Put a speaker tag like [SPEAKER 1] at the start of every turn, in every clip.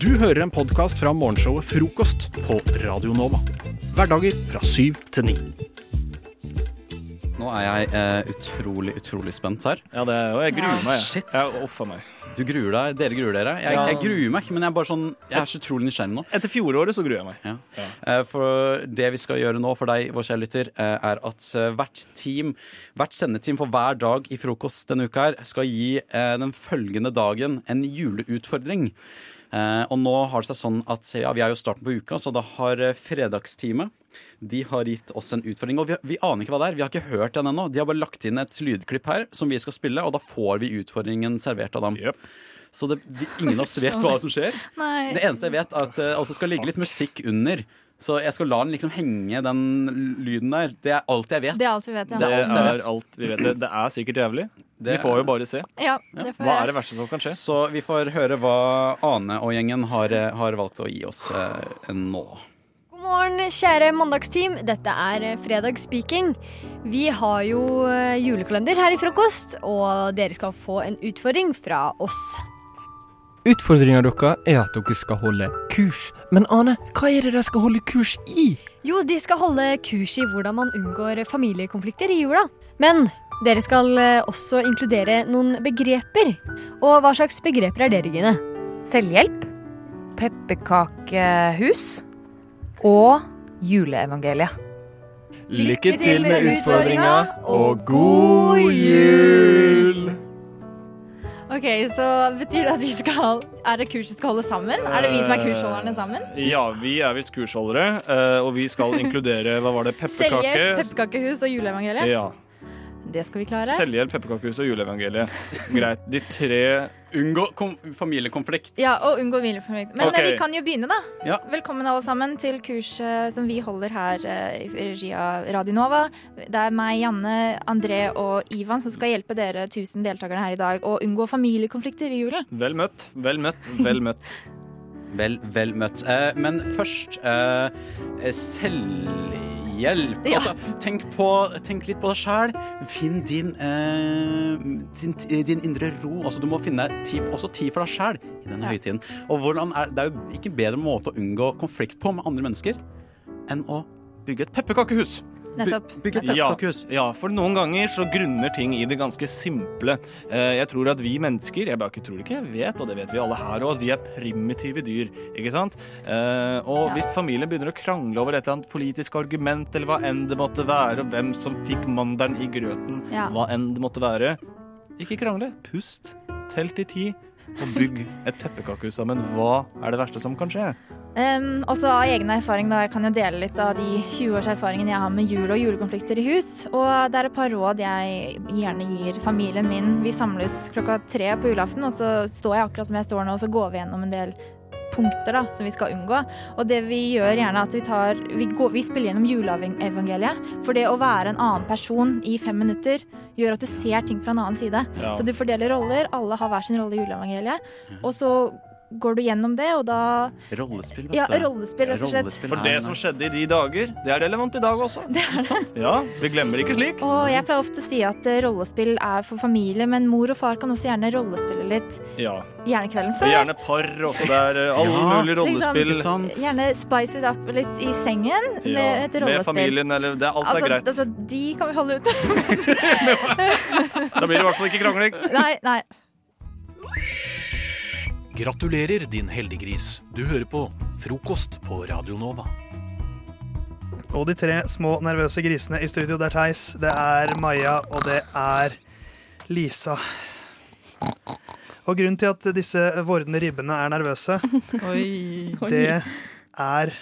[SPEAKER 1] Du hører en podkast fra morgenshowet Frokost på Radio Nova. Hverdager fra syv til ni.
[SPEAKER 2] Nå er jeg eh, utrolig, utrolig spent her.
[SPEAKER 3] Ja, det, og jeg gruer meg. jeg.
[SPEAKER 2] Shit.
[SPEAKER 3] Jeg offer meg.
[SPEAKER 2] Du gruer deg, dere gruer dere. Jeg,
[SPEAKER 3] Ja.
[SPEAKER 2] jeg gruer meg ikke, men jeg er bare sånn Jeg er så utrolig nysgjerrig nå.
[SPEAKER 3] Etter fjoråret så gruer jeg meg.
[SPEAKER 2] Ja. Eh, For det vi skal gjøre nå for deg, vår kjære lytter, eh, er at eh, hvert team, hvert sendeteam for hver dag i frokost denne uka her, skal gi eh, den følgende dagen en juleutfordring. Eh, Og nå har det seg sånn at ja, vi er jo starten på uka, så da har eh, fredagsteamet de har gitt oss en utfordring, og vi, vi aner ikke hva det er. Vi har ikke hørt den ennå. De har bare lagt inn et lydklipp her som vi skal spille, og da får vi utfordringen servert av dem.
[SPEAKER 3] Jep.
[SPEAKER 2] Så det, vi, ingen av oss vet hva som skjer.
[SPEAKER 4] Nei.
[SPEAKER 2] Det eneste jeg vet, er at det også skal ligge litt musikk under. Så jeg skal la den liksom henge, den lyden der. Det er alt jeg vet.
[SPEAKER 4] Det er alt vi vet, ja.
[SPEAKER 2] Det
[SPEAKER 3] Det
[SPEAKER 2] er alt jeg
[SPEAKER 3] er
[SPEAKER 2] vet.
[SPEAKER 3] alt vi vet. Det, det er sikkert jævlig.
[SPEAKER 2] Det
[SPEAKER 3] Vi får jo bare se.
[SPEAKER 4] Ja, det får
[SPEAKER 3] Hva er
[SPEAKER 4] jeg.
[SPEAKER 3] det verste som kan skje?
[SPEAKER 2] Så vi får høre hva Ane og gjengen har, har valgt å gi oss eh, nå.
[SPEAKER 4] God morgen, kjære mandagsteam. Dette er eh, Fredagsspeaking. Vi har jo eh, julekalender her i frokost, og dere skal få en utfordring fra oss.
[SPEAKER 5] Utfordringa deres er at dere skal holde kurs. Men Ane, hva er det dere skal holde kurs i?
[SPEAKER 4] Jo, de skal holde kurs i hvordan man unngår familiekonflikter i jula. Men dere skal eh, også inkludere noen begreper. Og hva slags begreper er dere, Gine?
[SPEAKER 6] Selvhjelp, pepperkakehus og juleevangeliet.
[SPEAKER 5] Lykke
[SPEAKER 6] til med utfordringa,
[SPEAKER 5] og god jul!
[SPEAKER 7] Ok, så betyr det at vi skal Er det kurs vi skal holde sammen? Er det vi som er kursholderne sammen?
[SPEAKER 2] Eh,
[SPEAKER 3] Ja, vi er visst kursholdere, eh, og vi skal inkludere Hva var det?
[SPEAKER 7] Selger
[SPEAKER 3] Pepperkake?
[SPEAKER 7] pepperkakehus og juleevangeliet?
[SPEAKER 3] Ja.
[SPEAKER 7] Det skal vi klare.
[SPEAKER 3] Selvhjelp, pepperkakehus og juleevangeliet. Greit. De tre
[SPEAKER 2] Unngå kom, familiekonflikt.
[SPEAKER 7] Ja, og unngå hvileformidling. Men
[SPEAKER 3] Ok.
[SPEAKER 7] eh, vi kan jo begynne, da.
[SPEAKER 2] Ja.
[SPEAKER 7] Velkommen alle sammen til kurset som vi holder her eh, i regi av Radio Nova. Det er meg, Janne, André og Ivan som skal hjelpe dere 1000 deltakerne her i dag å unngå familiekonflikter i julen.
[SPEAKER 3] Vel møtt, vel møtt, vel møtt.
[SPEAKER 2] Vel, vel møtt. Eh, men først eh, eh, selvhjelp. Altså, tenk, på, tenk litt på deg sjæl. Finn din, eh, din, din indre ro. Altså, du må finne tid, også tid for deg sjæl i denne høytiden. Og hvordan er, det er jo ikke bedre måte å unngå konflikt på med andre mennesker enn å bygge et pepperkakehus.
[SPEAKER 7] Nettopp.
[SPEAKER 2] By, bygge et
[SPEAKER 3] Ja,
[SPEAKER 2] pepperkakehus.
[SPEAKER 3] ja, for noen ganger så grunner ting i det ganske simple. Eh, Jeg tror at vi mennesker Jeg bare ikke tror ikke, jeg vet, og det vet vi alle her òg, at vi er primitive dyr. ikke sant? Eh, Og
[SPEAKER 7] Ja.
[SPEAKER 3] hvis familien begynner å krangle over et eller annet politisk argument, eller hva enn det måtte være, og hvem som fikk mandelen i grøten,
[SPEAKER 7] Ja.
[SPEAKER 3] hva enn det måtte være Ikke krangle. Pust. Telt til ti. Og bygg et pepperkakehus sammen. Hva er det verste som kan skje?
[SPEAKER 7] Um, også av egen erfaring, da. Jeg kan jo dele litt av de 20 års erfaringene jeg har med jul og julekonflikter i hus. Og det er et par råd jeg gjerne gir familien min. Vi samles klokka tre på julaften, og så står jeg akkurat som jeg står nå, og så går vi gjennom en del punkter da, som vi skal unngå. Og det vi gjør gjerne er at vi tar Vi, går, vi spiller gjennom juleevangeliet. For det å være en annen person i fem minutter gjør at du ser ting fra en annen side.
[SPEAKER 3] Ja.
[SPEAKER 7] Så du fordeler roller. Alle har hver sin rolle i juleevangeliet. Og så går du gjennom det, og da
[SPEAKER 2] Rollespill, vet
[SPEAKER 7] ja,
[SPEAKER 2] du.
[SPEAKER 7] rollespill, rett og slett.
[SPEAKER 2] Rollespill
[SPEAKER 3] For
[SPEAKER 2] er
[SPEAKER 3] det
[SPEAKER 2] en-
[SPEAKER 3] som skjedde i de dager, det er relevant i dag også. Ja, Vi glemmer ikke slik.
[SPEAKER 7] Og jeg pleier ofte å si at eh, rollespill er for familie, men mor og far kan også gjerne rollespille litt.
[SPEAKER 3] Ja.
[SPEAKER 7] Gjerne kvelden
[SPEAKER 3] Og
[SPEAKER 7] før.
[SPEAKER 3] gjerne par også. Det er eh, alle
[SPEAKER 2] Ja,
[SPEAKER 3] mulige rollespill.
[SPEAKER 2] Ikke sant?
[SPEAKER 7] Gjerne spice it up litt i sengen
[SPEAKER 3] Ja,
[SPEAKER 7] med et
[SPEAKER 3] Med
[SPEAKER 7] rollespill.
[SPEAKER 3] familien eller det, er- Alt
[SPEAKER 7] altså,
[SPEAKER 3] er greit.
[SPEAKER 7] altså, de kan vi holde ut.
[SPEAKER 3] Da blir det i hvert fall ikke krangling.
[SPEAKER 7] nei, nei.
[SPEAKER 1] Gratulerer, din heldiggris. Du hører på Frokost på Radio Nova.
[SPEAKER 8] Og de tre små nervøse grisene i studio, det er Theis, det er Maja, og det er Lisa. Og grunnen til at disse vordende ribbene er nervøse, Mm. det er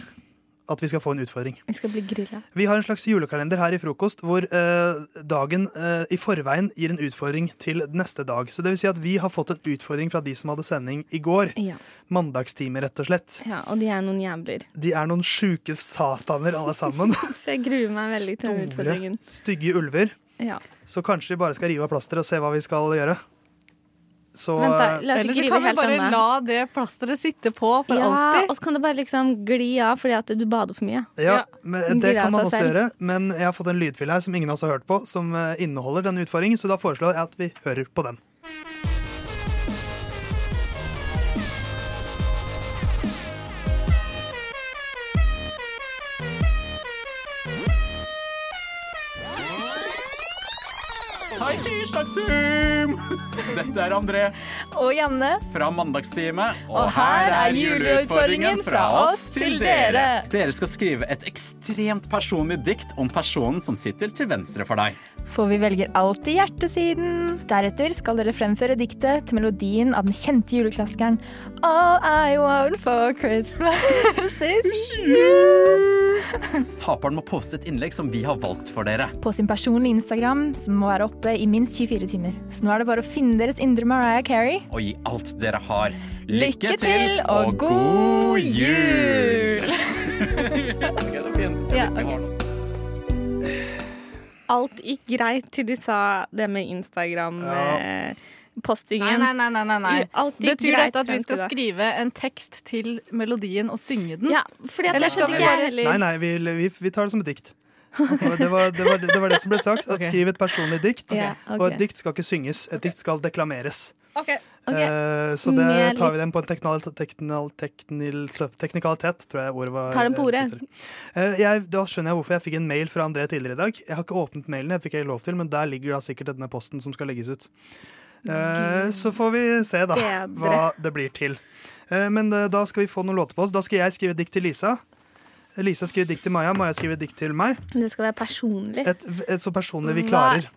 [SPEAKER 8] at vi skal få en utfordring.
[SPEAKER 7] Vi skal bli grilla.
[SPEAKER 8] Vi har en slags julekalender her i frokost hvor eh, dagen eh, i forveien gir en utfordring til neste dag. Så det vil si at vi har fått en utfordring fra de som hadde sending i går.
[SPEAKER 9] Ja.
[SPEAKER 8] Mandagstime, rett og slett.
[SPEAKER 9] Ja, og de er noen jævler.
[SPEAKER 8] De er noen sjuke sataner alle sammen.
[SPEAKER 9] Så jeg gruer meg veldig til den
[SPEAKER 8] Store,
[SPEAKER 9] utfordringen.
[SPEAKER 8] stygge ulver.
[SPEAKER 9] Ja.
[SPEAKER 8] Så kanskje vi bare skal rive av plasteret og se hva vi skal gjøre. Så eh,
[SPEAKER 9] Vent, da. La oss
[SPEAKER 10] Eller
[SPEAKER 9] ikke
[SPEAKER 10] så
[SPEAKER 9] rive
[SPEAKER 10] kan vi
[SPEAKER 9] helt
[SPEAKER 10] bare
[SPEAKER 9] annet.
[SPEAKER 10] la det plasteret sitte på for
[SPEAKER 9] Ja,
[SPEAKER 10] alltid.
[SPEAKER 9] og så kan det bare liksom gli av fordi at du bader for mye.
[SPEAKER 8] ja,
[SPEAKER 10] ja,
[SPEAKER 8] men det
[SPEAKER 9] gir
[SPEAKER 8] kan
[SPEAKER 9] av
[SPEAKER 8] man
[SPEAKER 9] seg
[SPEAKER 8] også
[SPEAKER 9] selv.
[SPEAKER 8] gjøre. Men jeg har fått en lydfil her som ingen av oss har hørt på, som eh, inneholder denne utfordringen, så da foreslår jeg at vi hører på den.
[SPEAKER 2] i Tirsdagsteam! Dette er André
[SPEAKER 4] Og Janne.
[SPEAKER 2] fra Mandagsteamet.
[SPEAKER 4] Og her er juleutfordringen fra oss til dere.
[SPEAKER 2] Dere skal skrive et ekstremt personlig dikt om personen som sitter til venstre for deg.
[SPEAKER 7] For vi velger alltid hjertesiden. Deretter skal dere fremføre diktet til melodien av den kjente juleklassikeren All I want for Christmas is you.
[SPEAKER 2] Taperen må poste et innlegg som vi har valgt for dere.
[SPEAKER 7] På sin personlige Instagram, som må være oppe i minst 24 timer. Så nå er det bare å finne deres indre Mariah Carey.
[SPEAKER 2] Og gi alt dere har.
[SPEAKER 7] Lykke til, og god jul!
[SPEAKER 2] Ok, det er fint.
[SPEAKER 9] Ja, Alt gikk greit til de sa det med
[SPEAKER 10] Nei,
[SPEAKER 9] Instagram-postingen.
[SPEAKER 10] nei, nei. nei, nei, nei.
[SPEAKER 9] Alt gikk
[SPEAKER 10] Betyr
[SPEAKER 9] greit
[SPEAKER 10] dette at vi
[SPEAKER 9] frem til
[SPEAKER 10] skal
[SPEAKER 9] det.
[SPEAKER 10] skrive en tekst til melodien og synge den?
[SPEAKER 9] Ja, fordi at
[SPEAKER 10] Eller
[SPEAKER 9] det
[SPEAKER 10] skal
[SPEAKER 9] skjønte
[SPEAKER 10] vi
[SPEAKER 9] ikke jeg
[SPEAKER 10] bare-
[SPEAKER 9] heller.
[SPEAKER 8] Nei, nei, vi, vi, vi tar det som et dikt. Det var det, var, det, var det som ble sagt. At
[SPEAKER 9] Ok.
[SPEAKER 8] skriv et personlig dikt.
[SPEAKER 9] Ja, ok.
[SPEAKER 8] Og et dikt skal ikke synges, et dikt skal deklameres.
[SPEAKER 9] Ok.
[SPEAKER 8] Eh, så det
[SPEAKER 9] Med
[SPEAKER 8] tar
[SPEAKER 9] litt-
[SPEAKER 8] vi den på en teknal, teknal, teknil, teknikalitet, tror jeg ordet var.
[SPEAKER 9] Tar den på ordet.
[SPEAKER 8] Eh, jeg, da skjønner jeg hvorfor jeg fikk en mail fra André tidligere i dag. Jeg har ikke åpnet mailen, jeg fikk ikke lov til, men der ligger da sikkert denne posten som skal legges ut. Eh, så får vi se, da,
[SPEAKER 9] Bedre.
[SPEAKER 8] hva det blir til. Eh, men eh, da skal vi få noen låter på oss. Da skal jeg skrive dikt til Lisa. Lisa skriver dikt til Maja, Maja skriver dikt til meg.
[SPEAKER 9] Det skal være personlig.
[SPEAKER 8] Et, et så personlig vi klarer.
[SPEAKER 9] Hva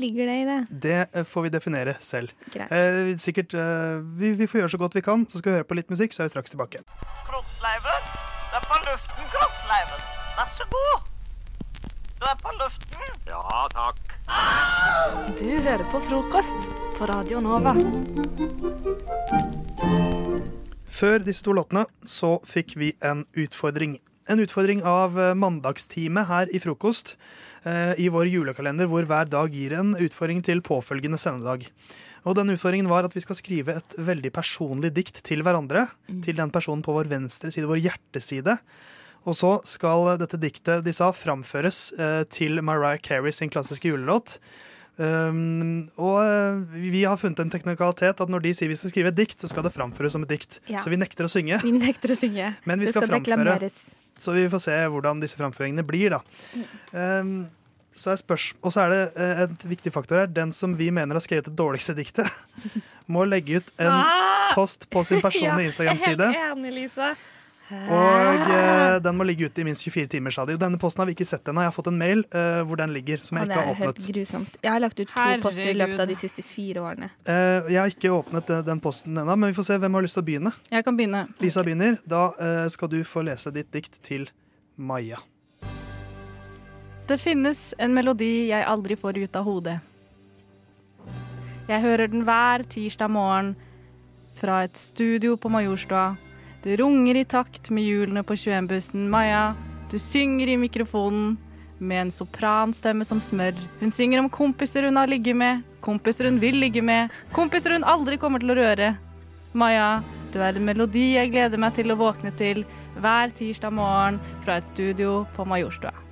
[SPEAKER 9] ligger det i det?
[SPEAKER 8] Det eh, får vi definere selv.
[SPEAKER 9] Greit.
[SPEAKER 8] Eh, sikkert, eh, vi, vi får gjøre så godt vi kan, så skal vi høre på litt musikk, så er vi straks tilbake.
[SPEAKER 11] Kroppsleiven. Du er på luften, Kroppsleiven. Vær så god. Du er på luften. Ja, takk.
[SPEAKER 12] Du hører på frokost på Radio Nova.
[SPEAKER 8] Før disse to låtene så fikk vi en utfordring. En utfordring av eh, mandagsteamet her i frokost eh, i vår julekalender, hvor hver dag gir en utfordring til påfølgende sendedag. Og denne utfordringen var at vi skal skrive et veldig personlig dikt til hverandre.
[SPEAKER 9] Mm.
[SPEAKER 8] Til den personen på vår venstre side, vår hjerteside. Og så skal dette diktet de sa, framføres eh, til Mariah Carey sin klassiske julelåt. Um, og eh, vi har funnet en teknikalitet at når de sier vi skal skrive et dikt, så skal det framføres som et dikt.
[SPEAKER 9] Ja.
[SPEAKER 8] Så vi nekter å synge.
[SPEAKER 9] Vi nekter å synge.
[SPEAKER 8] Men vi
[SPEAKER 9] det
[SPEAKER 8] skal
[SPEAKER 9] skal
[SPEAKER 8] framføre.
[SPEAKER 9] deklameres.
[SPEAKER 8] Så vi får se hvordan disse framføringene blir, da.
[SPEAKER 4] Mm.
[SPEAKER 8] Um, så er spørs og så er det eh, et viktig faktor her. Den som vi mener har skrevet det dårligste diktet, må legge ut en
[SPEAKER 9] Ah!
[SPEAKER 8] post på sin personlige Instagram-side.
[SPEAKER 9] Jeg er helt enig, Lisa.
[SPEAKER 8] Og eh, den må ligge ute i minst 24 timer, sa de. Og denne posten har vi ikke sett ennå. Jeg har fått en mail eh, hvor den ligger, som jeg
[SPEAKER 9] Og det
[SPEAKER 8] ikke har
[SPEAKER 9] er jo helt
[SPEAKER 8] åpnet.
[SPEAKER 9] grusomt. Jeg har lagt ut to
[SPEAKER 10] Herregud.
[SPEAKER 9] poster i løpet av de siste fire årene.
[SPEAKER 8] Eh, jeg har ikke åpnet den, den posten ennå, men vi får se hvem har lyst til å begynne.
[SPEAKER 10] Jeg kan begynne.
[SPEAKER 8] Lisa begynner. Da eh, skal du få lese ditt dikt til Maja.
[SPEAKER 10] Det finnes en melodi jeg aldri får ut av hodet. Jeg hører den hver tirsdag morgen fra et studio på Majorstua. Det runger i takt med hjulene på 21-bussen. Maja, du synger i mikrofonen med en sopranstemme som smør. Hun synger om kompiser hun har ligget med, kompiser hun vil ligge med, kompiser hun aldri kommer til å røre. Maja, du er en melodi jeg gleder meg til å våkne til hver tirsdag morgen fra et studio på Majorstua.
[SPEAKER 9] Ah,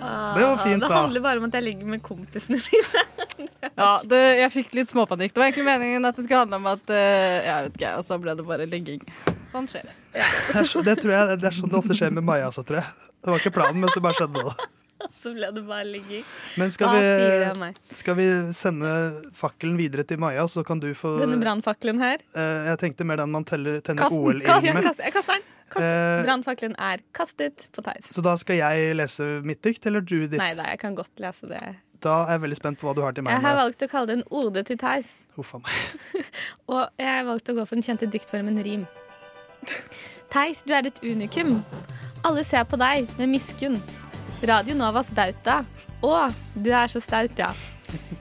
[SPEAKER 10] Det var fint,
[SPEAKER 9] Ah, Det
[SPEAKER 10] da.
[SPEAKER 9] handler bare om at jeg ligger med kompisene mine.
[SPEAKER 10] Ja, det, jeg fikk litt småpanikk. Det var egentlig meningen at det skulle handle om at eh, Jeg vet ikke, og så ble det bare ligging. Sånn skjer det.
[SPEAKER 8] Det er, så, det, tror jeg, det er sånn det ofte skjer med Maja også, tror jeg. Det var ikke planen, men så bare skjedde det.
[SPEAKER 9] Så ble det bare ligging.
[SPEAKER 8] Men skal
[SPEAKER 9] Hva sier det om
[SPEAKER 8] vi,
[SPEAKER 9] meg?
[SPEAKER 8] skal vi sende fakkelen videre til Maja, så kan du få
[SPEAKER 9] Denne brannfakkelen her.
[SPEAKER 8] Eh, Jeg tenkte mer den man teller, tenner
[SPEAKER 9] Kast den!
[SPEAKER 8] OL-ilden
[SPEAKER 9] Kast,
[SPEAKER 8] med.
[SPEAKER 9] jeg kaster- jeg kaster den!
[SPEAKER 8] Eh,
[SPEAKER 9] Brannfakkelen er kastet på Theis.
[SPEAKER 8] Så da skal jeg lese mitt dikt, eller du ditt?
[SPEAKER 9] Nei da, jeg kan godt lese det.
[SPEAKER 8] Da er jeg veldig spent på hva du har til meg.
[SPEAKER 9] Jeg har
[SPEAKER 8] Maja.
[SPEAKER 9] valgt å kalle det en ode til Theis.
[SPEAKER 8] Huff a meg.
[SPEAKER 9] Og jeg har valgt å gå for den kjente diktformen rim. Theis, du er et unikum. Alle ser på deg med miskunn. Radio Novas bauta. Å, du er så staut, ja.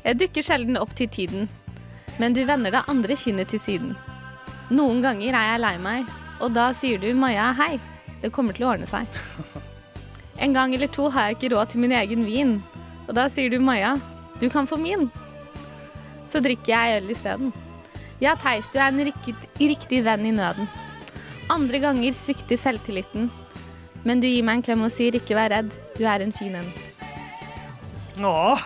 [SPEAKER 9] Jeg dukker sjelden opp til tiden, men du vender det andre kinnet til siden. Noen ganger er jeg lei meg, og da sier du Maja hei. Det kommer til å ordne seg. En gang eller to har jeg ikke råd til min egen vin, og da sier du Maja, du kan få min. Så drikker jeg øl isteden. Ja, Theis, du er en riktig, riktig venn i nøden. Andre ganger svikter selvtilliten. Men du gir meg en klem og sier 'ikke vær redd, du er en fin en'.
[SPEAKER 8] Åh,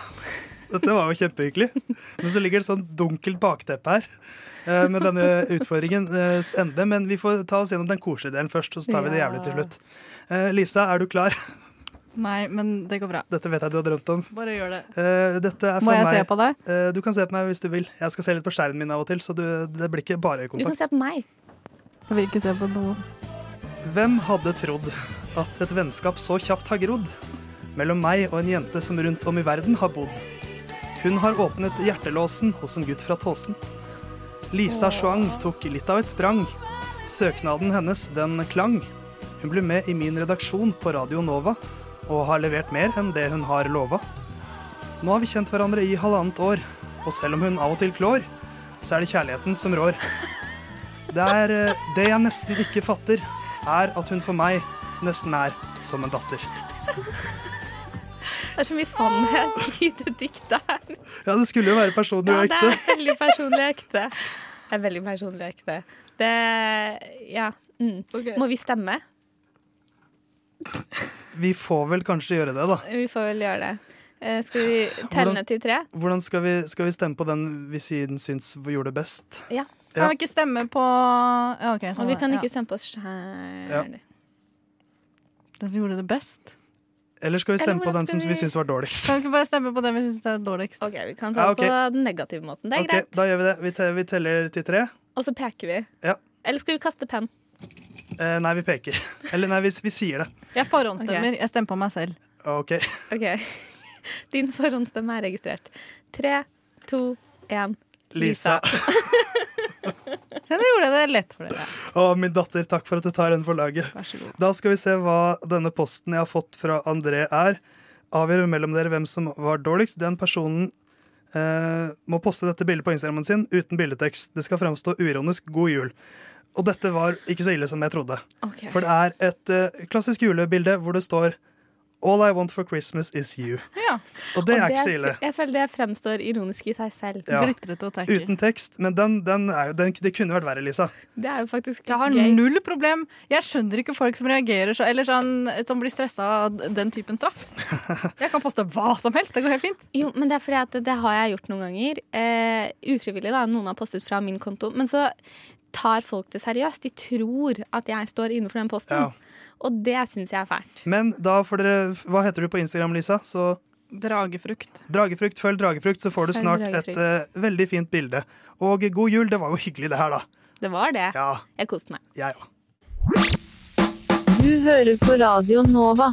[SPEAKER 8] dette var jo kjempehyggelig. Men så ligger det sånn dunkelt bakteppe her eh, med denne utfordringens ende. Men vi får ta oss gjennom den koselige delen først, og så tar vi det
[SPEAKER 9] Ja.
[SPEAKER 8] jævlig til slutt. Eh, Lisa, er du klar?
[SPEAKER 10] Nei, men det går bra.
[SPEAKER 8] Dette vet jeg du har drømt om.
[SPEAKER 10] Bare gjør det.
[SPEAKER 8] Eh, dette er
[SPEAKER 10] Må
[SPEAKER 8] fra
[SPEAKER 10] jeg
[SPEAKER 8] meg.
[SPEAKER 10] se på deg?
[SPEAKER 8] Eh, du kan se på meg hvis du vil. Jeg skal se litt på skjermen min av og til, så du, det blir ikke bare
[SPEAKER 9] Du kan
[SPEAKER 8] kontakt.
[SPEAKER 9] se på meg.
[SPEAKER 10] Jeg vil ikke se på noe.
[SPEAKER 8] Hvem hadde trodd at et vennskap så kjapt har grodd? Mellom meg og en jente som rundt om i verden har bodd. Hun har åpnet hjertelåsen hos en gutt fra Tåsen. Lisa Schwang tok litt av et sprang. Søknaden hennes, den klang. Hun ble med i min redaksjon på Radio Nova, og har levert mer enn det hun har lova. Nå har vi kjent hverandre i halvannet år, og selv om hun av og til klår, så er det kjærligheten som rår. Det, er, eh, det jeg nesten ikke fatter, er at hun for meg nesten er som en datter.
[SPEAKER 9] Det er så mye sånn sannhet i det diktet her.
[SPEAKER 8] Ja, det skulle jo være personlig og
[SPEAKER 9] Ja, det
[SPEAKER 8] ekte.
[SPEAKER 9] er veldig personlig og ekte. Det er veldig personlig og ekte. Det Ja. Mm. Må vi stemme?
[SPEAKER 8] Vi får vel kanskje gjøre det, da.
[SPEAKER 9] Vi får vel gjøre det. Eh, Skal vi telle
[SPEAKER 8] Hvordan-
[SPEAKER 9] til tre?
[SPEAKER 8] Hvordan skal vi, skal vi stemme på den vi siden syns vi gjorde det best?
[SPEAKER 9] Ja.
[SPEAKER 8] Ja.
[SPEAKER 10] Kan vi ikke stemme på ja, ok, sånn
[SPEAKER 9] Og vi kan ikke
[SPEAKER 10] ja.
[SPEAKER 9] stemme på oss sjæl.
[SPEAKER 8] Ja.
[SPEAKER 10] Den som gjorde det best?
[SPEAKER 8] Eller skal vi
[SPEAKER 9] Eller
[SPEAKER 8] stemme på
[SPEAKER 9] hvordan
[SPEAKER 8] den
[SPEAKER 9] skal
[SPEAKER 8] som vi
[SPEAKER 9] vi-
[SPEAKER 8] syns var dårligst?
[SPEAKER 10] Kan vi ikke bare stemme på den vi syns er dårligst?
[SPEAKER 9] OK, vi
[SPEAKER 8] Ja,
[SPEAKER 9] kan ta det
[SPEAKER 8] ok.
[SPEAKER 9] på den negative måten. Det er
[SPEAKER 8] Ok,
[SPEAKER 9] greit.
[SPEAKER 8] Da gjør vi det. Vi, te vi teller til tre.
[SPEAKER 9] Og så peker vi.
[SPEAKER 8] Ja.
[SPEAKER 9] Eller skal vi kaste penn?
[SPEAKER 8] Eh, nei, vi peker. Eller nei, vi, vi sier det.
[SPEAKER 10] Jeg forhåndsstemmer. Jeg stemmer på meg selv.
[SPEAKER 8] OK.
[SPEAKER 9] OK. Din forhåndsstemme er registrert. Tre, to, én.
[SPEAKER 8] Lisa.
[SPEAKER 10] Nå gjorde jeg det lett for dere.
[SPEAKER 8] Å, min datter, takk for at du tar den for laget. Da skal vi se hva denne posten jeg har fått fra André er. Avgjør mellom dere hvem som var dårligst. Den personen eh, må poste dette bildet på Instagrammen sin uten bildetekst. Det skal fremstå uironisk 'God jul'. Og dette var ikke så ille som jeg trodde.
[SPEAKER 9] Ok.
[SPEAKER 8] For det er et eh, klassisk julebilde hvor det står 'All I want for Christmas is you'.
[SPEAKER 10] Ja.
[SPEAKER 8] Og det er ikke så ille.
[SPEAKER 9] Jeg føler det fremstår ironisk i seg selv.
[SPEAKER 8] Ja. Uten tekst, men den, den er jo, den, det kunne vært verre, Lisa.
[SPEAKER 9] Det er jo faktisk
[SPEAKER 10] Jeg har
[SPEAKER 9] gøy.
[SPEAKER 10] null problem. Jeg skjønner ikke folk som reagerer så, eller sånn, som blir stressa av den typen straff. Jeg kan poste hva som helst. Det går helt fint.
[SPEAKER 9] Jo, men det er fordi at det har jeg gjort noen ganger. Eh, ufrivillig, da. Noen har postet fra min konto. Men så tar folk det seriøst. De tror at jeg står innenfor den posten.
[SPEAKER 8] Ja.
[SPEAKER 9] Og det syns jeg er fælt.
[SPEAKER 8] Men da får dere Hva heter du på Instagram, Lisa? Så
[SPEAKER 10] Dragefrukt.
[SPEAKER 8] Dragefrukt, følg dragefrukt, så får du
[SPEAKER 9] Følg
[SPEAKER 8] snart
[SPEAKER 9] dragefrukt.
[SPEAKER 8] et eh, veldig fint bilde. Og god jul, det var jo hyggelig det her, da.
[SPEAKER 9] Det var det.
[SPEAKER 8] Ja,
[SPEAKER 9] Jeg koste meg.
[SPEAKER 8] jeg òg.
[SPEAKER 13] Du hører på Radio Nova.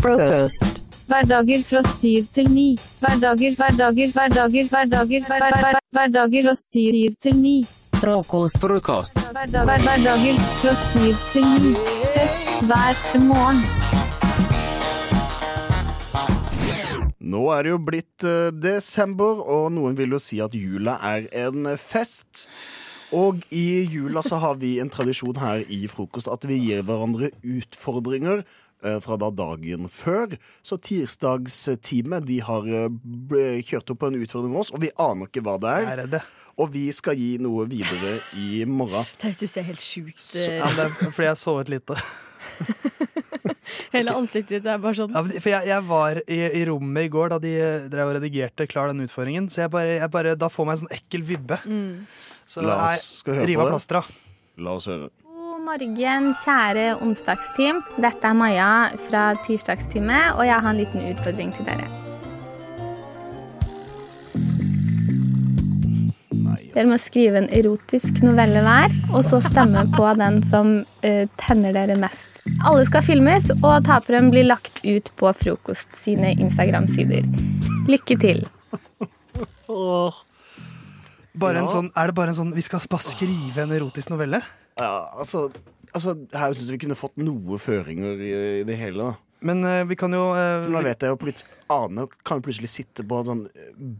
[SPEAKER 13] Frokost. Hverdager fra syv til ni. Hverdager, hverdager, hverdager, hverdager, hver- hver- hver- hverdager fra syv til ni.
[SPEAKER 14] Frokost. Frokost.
[SPEAKER 13] Hverdag- hver- Hverdager fra syv til ni. Fest hver morgen.
[SPEAKER 15] Nå er det jo blitt eh, desember, og noen vil jo si at jula er en fest. Og i jula så har vi en tradisjon her i frokost at vi gir hverandre utfordringer eh, fra da dagen før. Så tirsdagsteamet de har eh, bl- kjørt opp på en utfordring med oss, og vi aner ikke hva det er. Og vi skal gi noe videre i morgen.
[SPEAKER 16] Theis, du ser helt sjukt
[SPEAKER 8] Ja, men det
[SPEAKER 4] eh,
[SPEAKER 8] er fordi jeg sovet lite.
[SPEAKER 16] Hele ansiktet ditt er bare sånn.
[SPEAKER 8] Ja, men, for jeg, jeg var i, i rommet i går da de eh, drev og redigerte klar den utfordringen, så jeg bare, jeg bare, da får meg en sånn ekkel vibbe. Så
[SPEAKER 15] La
[SPEAKER 8] nei,
[SPEAKER 15] oss- skal vi høre
[SPEAKER 8] riv
[SPEAKER 15] på
[SPEAKER 8] av
[SPEAKER 15] det?
[SPEAKER 8] plasteret.
[SPEAKER 15] La oss høre.
[SPEAKER 12] God morgen, kjære onsdagsteam. Dette er Maja fra Tirsdagsteamet, og jeg har en liten utfordring til dere. Dere må skrive en erotisk novelle hver, og så stemme på den som eh, tenner dere mest. Alle skal filmes, og taperen blir lagt ut på Frokost sine Instagram-sider. Lykke til.
[SPEAKER 8] Bare en
[SPEAKER 15] Ja.
[SPEAKER 8] sånn, er det bare en sånn Vi skal bare skrive en erotisk novelle?
[SPEAKER 15] Ja, altså, altså Her syns jeg vi kunne fått noe føringer i, i det hele. da
[SPEAKER 8] Men eh, vi kan jo eh,
[SPEAKER 15] For nå vet jeg jo plut Ane kan jo plutselig sitte på en sånn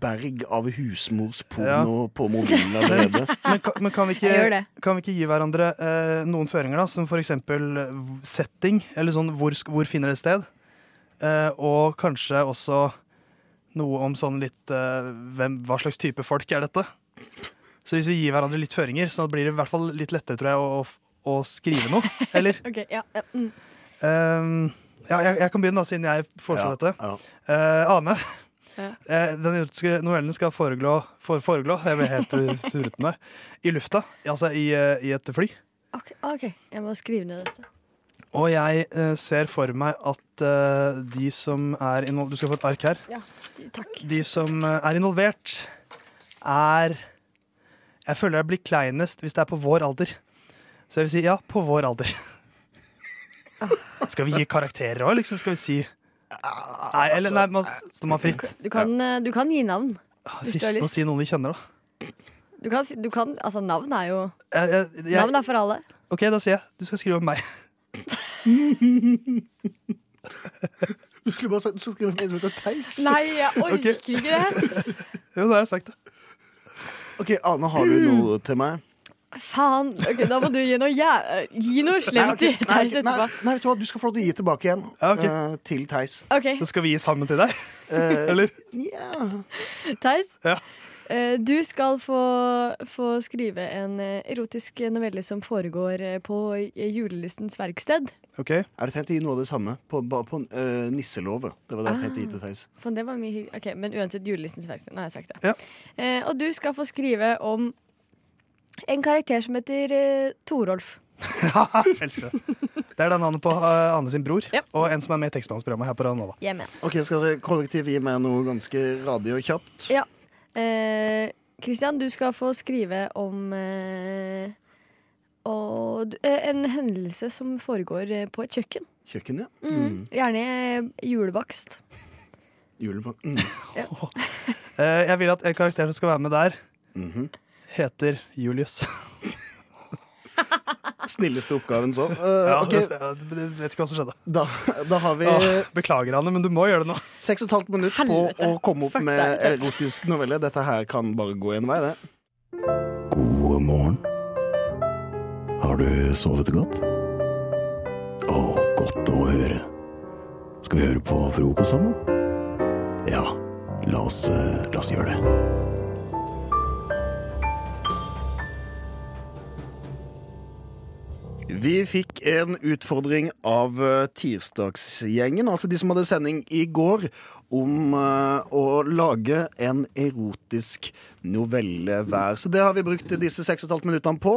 [SPEAKER 15] berg av husmorsporno på mobilen allerede.
[SPEAKER 8] Men, kan, men kan, vi
[SPEAKER 15] Jeg gjør
[SPEAKER 8] ikke,
[SPEAKER 15] det.
[SPEAKER 8] kan vi ikke gi hverandre eh, noen føringer, da? Som for eksempel eh, setting, eller sånn hvor, sk- hvor finner det sted? Eh, og kanskje også noe om sånn litt eh, hvem, Hva slags type folk er dette? Så hvis vi gir hverandre litt føringer, så blir det i hvert fall litt lettere, tror jeg, å, å, å skrive noe. Eller?
[SPEAKER 16] Ok, ja, ja. Mm.
[SPEAKER 8] Ehm, ja, jeg, jeg kan begynne, da, siden jeg foreslo dette. Eh, Ane.
[SPEAKER 16] Ja.
[SPEAKER 8] Eh, den erotiske novellen skal foreglå, for, foreglå jeg ble helt eh, surrete, i lufta. Altså i, eh, i et fly.
[SPEAKER 16] Ok, ok, jeg må skrive ned dette.
[SPEAKER 8] Og jeg eh, ser for meg at eh, de som er involvert Du skal få et ark her.
[SPEAKER 4] Ja, takk.
[SPEAKER 8] De som eh, er involvert, er Jeg føler jeg blir kleinest hvis det er på vår alder. Så jeg vil si ja, på vår alder. Skal vi gi karakterer òg, liksom? Skal vi si Nei, eller nei, man står man fritt.
[SPEAKER 4] Du kan, eh, du kan gi navn.
[SPEAKER 15] Ah,
[SPEAKER 4] hvis du har
[SPEAKER 8] Fristende å
[SPEAKER 4] lyst.
[SPEAKER 8] si noen vi kjenner, da.
[SPEAKER 4] Du kan, si- du kan, altså Navn er jo
[SPEAKER 8] Jeg, jeg,
[SPEAKER 4] Navn
[SPEAKER 8] jeg,
[SPEAKER 4] er for alle.
[SPEAKER 8] OK, da sier jeg. Du skal skrive om meg.
[SPEAKER 15] Du skulle bare sagt du skal skrive om en som heter Theis.
[SPEAKER 4] Nei, jeg orker ikke det.
[SPEAKER 8] Jo, da har jeg sagt Hmm. det.
[SPEAKER 15] OK, Ane, har du noe til meg?
[SPEAKER 4] Faen. ok, Da må du gi noe jæ... eh, Gi noe
[SPEAKER 15] Nei,
[SPEAKER 4] slemt
[SPEAKER 15] ok,
[SPEAKER 4] til
[SPEAKER 15] nei,
[SPEAKER 4] Theis
[SPEAKER 15] nei,
[SPEAKER 4] etterpå.
[SPEAKER 15] nei, vet du hva, du skal få lov til å gi tilbake igjen.
[SPEAKER 8] ok.
[SPEAKER 15] eh, til Theis.
[SPEAKER 4] Ok.
[SPEAKER 8] Så skal vi gi sammen til deg?
[SPEAKER 15] Eh,
[SPEAKER 8] Eller?
[SPEAKER 4] Theis,
[SPEAKER 8] Ja.
[SPEAKER 4] eh, du skal få, få skrive en eh, erotisk novelle som foregår eh, på eh, julelystens verksted.
[SPEAKER 8] Okay.
[SPEAKER 15] Jeg hadde tenkt å gi noe av det samme, på, bare på uh, nisselovet. Det var det jeg tenkte å gi til Theis.
[SPEAKER 4] For Ah. det var mye hygg- Ok, Men uansett, julelistens verksted. Nå har jeg sagt det.
[SPEAKER 8] Ja.
[SPEAKER 4] Eh, og du skal få skrive om en karakter som heter eh, Torolf.
[SPEAKER 8] Elsker det. Det er da navnet på
[SPEAKER 15] Ah,
[SPEAKER 8] eh, Ane sin bror, og en som er med i tekstbehandlingsprogrammet her på Ranova.
[SPEAKER 4] Jeg er med.
[SPEAKER 15] Ok, Skal dere kollektiv gi meg noe ganske radio kjapt?
[SPEAKER 4] Ja. Eh, Christian, du skal få skrive om eh, og, du- eh, en hendelse som foregår eh, på et kjøkken.
[SPEAKER 15] Kjøkkenet?
[SPEAKER 4] Mm. Gjerne eh, julebakst.
[SPEAKER 15] Julepak- Mm.
[SPEAKER 8] Eh, jeg vil at en karakter som skal være med der,
[SPEAKER 15] Mhm.
[SPEAKER 8] heter Julius.
[SPEAKER 15] Snilleste oppgaven så. Eh,
[SPEAKER 8] ja,
[SPEAKER 15] ok.
[SPEAKER 8] det- ja, det- jeg vet ikke hva som skjedde.
[SPEAKER 15] Da, da har vi
[SPEAKER 8] Åh, beklager, Anne, men du må gjøre det nå.
[SPEAKER 15] Seks og et halvt minutt på å komme opp med
[SPEAKER 8] deg.
[SPEAKER 15] erotisk novelle. Dette her kan bare gå en vei, det.
[SPEAKER 17] God morgen. Har du sovet godt? Å, godt å høre. Skal vi høre på frokost sammen? Ja, la oss, eh, la oss gjøre det.
[SPEAKER 15] Vi fikk en utfordring av eh, tirsdagsgjengen, altså de som hadde sending i går, om eh, å lage en erotisk novelle hver. Så det har vi brukt disse seks og et halvt minuttene på.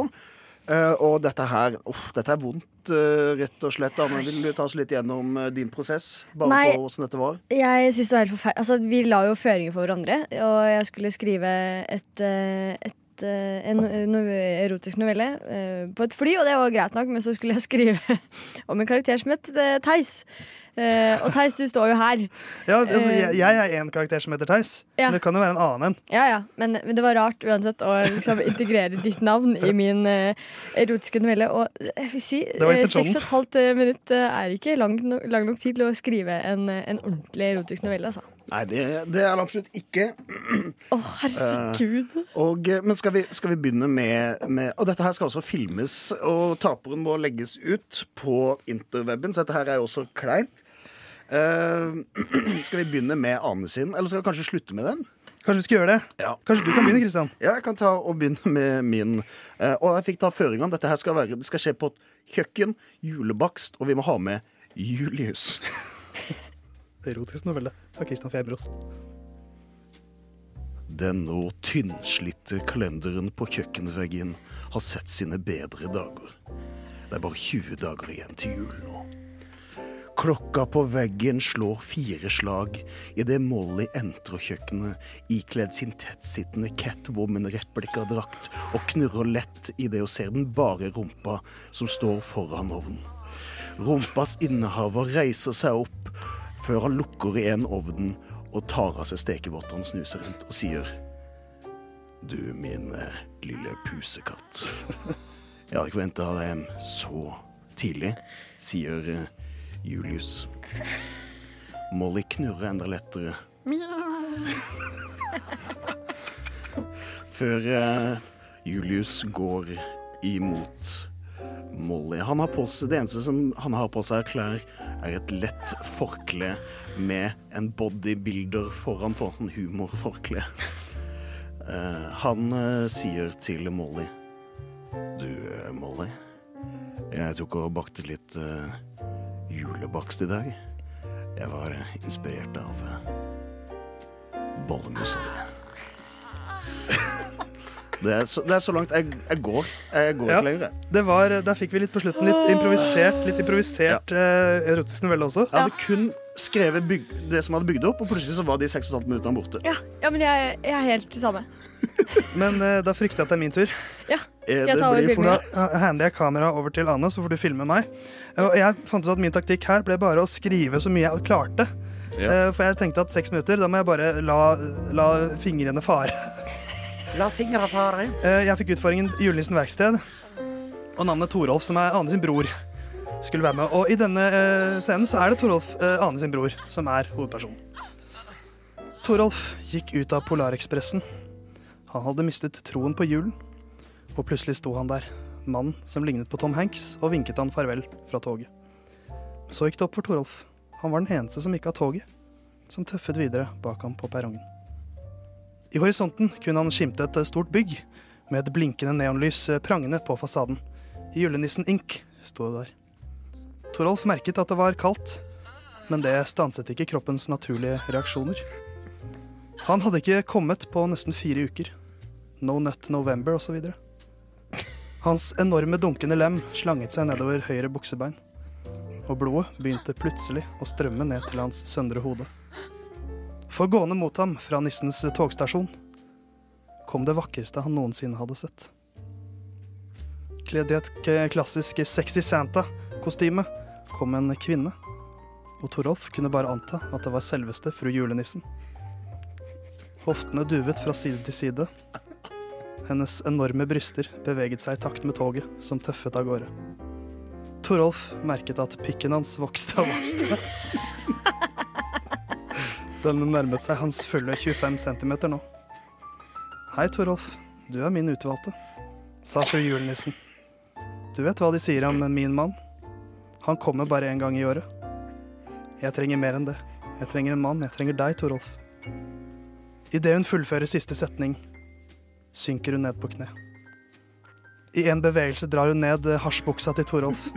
[SPEAKER 15] Eh, og dette her uff, Dette er vondt, eh, rett og slett. Anne, vil du ta oss litt gjennom eh, din prosess? Bare
[SPEAKER 4] Nei.
[SPEAKER 15] på hvordan dette var?
[SPEAKER 4] Jeg synes det var helt forferdelig altså, Vi la jo føringer for hverandre, og jeg skulle skrive et, eh, et, eh, en no erotisk novelle eh, på et fly, og det var greit nok, men så skulle jeg skrive om en karakter som het eh, Theis. Eh, og Theis, du står jo her.
[SPEAKER 8] Ja, altså,
[SPEAKER 4] Eh,
[SPEAKER 8] jeg, jeg er én karakter som heter Theis,
[SPEAKER 4] Ja.
[SPEAKER 8] men det kan jo være en annen en.
[SPEAKER 4] Eh, Ja, ja, men, men det var rart uansett å liksom, integrere ditt navn i min eh, erotiske novelle. Og jeg vil si,
[SPEAKER 8] var
[SPEAKER 4] eh,
[SPEAKER 8] intensjonen.
[SPEAKER 4] seks og et halvt eh, minutt eh, er ikke lang, no lang nok tid til å skrive en, eh, en ordentlig erotisk novelle, altså.
[SPEAKER 15] Nei, det, det er det absolutt ikke.
[SPEAKER 4] Å, herregud.
[SPEAKER 15] Eh, og, eh, men skal vi, skal vi begynne med, med Og dette her skal også filmes, og taperen må legges ut på interweben, så dette her er jo også kleint. Eh, skal vi begynne med Ane sin, eller skal vi kanskje slutte med den?
[SPEAKER 8] Kanskje vi skal gjøre det? Kanskje du kan begynne, Kristian?
[SPEAKER 15] Ja, jeg kan ta og begynne med min. Eh, og jeg fikk ta føringene. Dette her skal, være, det skal skje på et kjøkken, julebakst, og vi må ha med Julius.
[SPEAKER 8] Erotisk novelle av Kristian Febros.
[SPEAKER 15] Den nå tynnslitte kalenderen på kjøkkenveggen har sett sine bedre dager. Det er bare 20 dager igjen til jul nå. Klokka på veggen slår fire slag idet Molly entrer kjøkkenet ikledd sin tettsittende Catwoman-replikadrakt og knurrer lett idet hun ser den bare rumpa som står foran ovnen. Rumpas innehaver reiser seg opp før han lukker igjen ovnen og tar av seg stekevotteren og snuser rundt og sier Du, min eh, lille pusekatt. Jeg hadde ikke venta deg hjem så tidlig, sier eh, Julius. Molly knurrer enda lettere før eh, Julius går imot Molly. Han har på seg, det eneste som han har på seg av klær, er et lett forkle med en bodybuilder foran på. En humorforkle. Eh, han eh, sier til Molly Du, eh, Molly. Jeg tok og bakte litt eh, julebakst i dag. Jeg var eh, inspirert av eh, uh, bollemusa di. Det er så, det er så langt jeg, jeg går. Jeg går
[SPEAKER 8] Ja.
[SPEAKER 15] ikke lenger. jeg.
[SPEAKER 8] Det var, der fikk vi litt på slutten. Litt improvisert, litt improvisert eh, erotisk novelle også.
[SPEAKER 15] Jeg hadde kun skrevet byg det som jeg hadde bygd opp, og plutselig så var de 6 15 minuttene borte.
[SPEAKER 4] Ja, ja men jeg, jeg er helt samme.
[SPEAKER 8] Men eh, da frykter jeg at det er min tur.
[SPEAKER 4] Ja. Skal jeg ta over filmen?
[SPEAKER 8] Da hander jeg kameraet over til Ane, så får du filme meg. Og jeg fant ut at min taktikk her ble bare å skrive så mye jeg klarte. Eh,
[SPEAKER 15] Ja.
[SPEAKER 8] For jeg tenkte at seks minutter, da må jeg bare la, la fingrene fare.
[SPEAKER 15] La fingra fare.
[SPEAKER 8] Eh, Jeg fikk utfordringen Julenissen verksted, og navnet Torolf, som er Ane sin bror, skulle være med. Og i denne eh, scenen så er det Torolf, eh, Ane sin bror, som er hovedpersonen. Torolf gikk ut av Polarekspressen. Han hadde mistet troen på julen, og plutselig sto han der, mannen som lignet på Tom Hanks, og vinket han farvel fra toget. Så gikk det opp for Torolf. Han var den eneste som gikk av toget, som tøffet videre bak ham på perrongen. I horisonten kunne han skimte et eh, stort bygg med et blinkende neonlys eh, prangende på fasaden. Julenissen Ink sto det der. Torolf merket at det var kaldt, men det stanset ikke kroppens naturlige reaksjoner. Han hadde ikke kommet på nesten fire uker. No Nut November osv. Hans enorme dunkende lem slanget seg nedover høyre buksebein, og blodet begynte plutselig å strømme ned til hans søndre hode. For gående mot ham fra nissens togstasjon kom det vakreste han noensinne hadde sett. Kledd i et k- klassisk Sexy Santa-kostyme kom en kvinne, og Torolf kunne bare anta at det var selveste fru julenissen. Hoftene duvet fra side til side. Hennes enorme bryster beveget seg i takt med toget, som tøffet av gårde. Torolf merket at pikken hans vokste og vokste. Den nærmet seg hans fulle 25 cm nå. Hei, Torolf. Du er min utvalgte, sa fru julenissen. Du vet hva de sier om min mann? Han kommer bare én gang i året. Jeg trenger mer enn det. Jeg trenger en mann. Jeg trenger deg, Torolf. Idet hun fullfører siste setning, synker hun ned på kne. I en bevegelse drar hun ned eh, hasjbuksa til Torolf.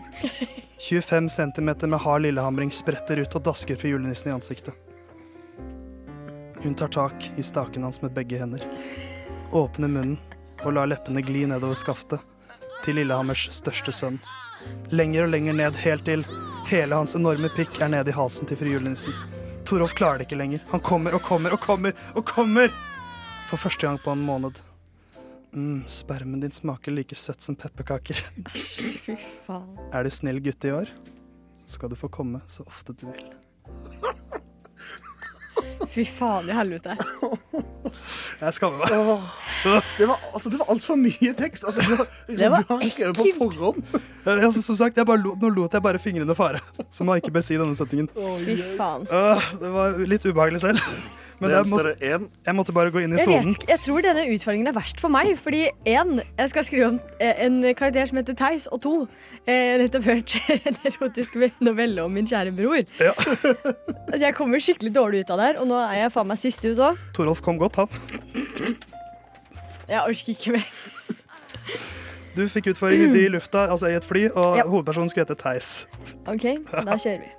[SPEAKER 8] 25 cm med hard lillehamring spretter ut og dasker for julenissen i ansiktet. Hun tar tak i staken hans med begge hender, åpner munnen og lar leppene gli nedover skaftet til Lillehammers største sønn. Lenger og lenger ned, helt til hele hans enorme pikk er nede i halsen til fru julenissen. Torolf klarer det ikke lenger. Han kommer og kommer og kommer og kommer! For første gang på en måned. Mm, spermen din smaker like søtt som pepperkaker.
[SPEAKER 4] Fy faen.
[SPEAKER 8] Er du snill gutt i år, så skal du få komme så ofte du vil.
[SPEAKER 4] Fy faen i helvete.
[SPEAKER 8] Jeg skammer meg.
[SPEAKER 15] Det var, altså, det var altfor mye tekst. Altså, du har, liksom,
[SPEAKER 8] Det var
[SPEAKER 15] du har skrevet på forhånd.
[SPEAKER 8] Eh, Altså, som sagt, jeg bare lot, nå lot jeg bare fingrene fare, som man ikke bør si i denne setningen.
[SPEAKER 4] Fy faen.
[SPEAKER 8] Øh, det var litt ubehagelig selv. Men
[SPEAKER 15] Det
[SPEAKER 8] jeg
[SPEAKER 15] gjenstår
[SPEAKER 8] måtte, jeg måtte bare gå inn i
[SPEAKER 4] Jeg,
[SPEAKER 8] sonen.
[SPEAKER 4] vet, ikke- jeg tror denne utfordringen er verst for meg, fordi én, jeg skal skrive om eh, en karakter som heter Theis, og to, eh, nettopp hørt en erotisk novelle om min kjære bror. Altså, jeg kommer skikkelig dårlig ut av det her, og nå er jeg faen meg sist ut òg.
[SPEAKER 8] Torolf kom godt, han.
[SPEAKER 4] Jeg orker ikke mer.
[SPEAKER 8] Du fikk utfordring ute i lufta, altså i et fly, og
[SPEAKER 4] Ja.
[SPEAKER 8] hovedpersonen skulle hete Theis.
[SPEAKER 4] OK, da kjører vi.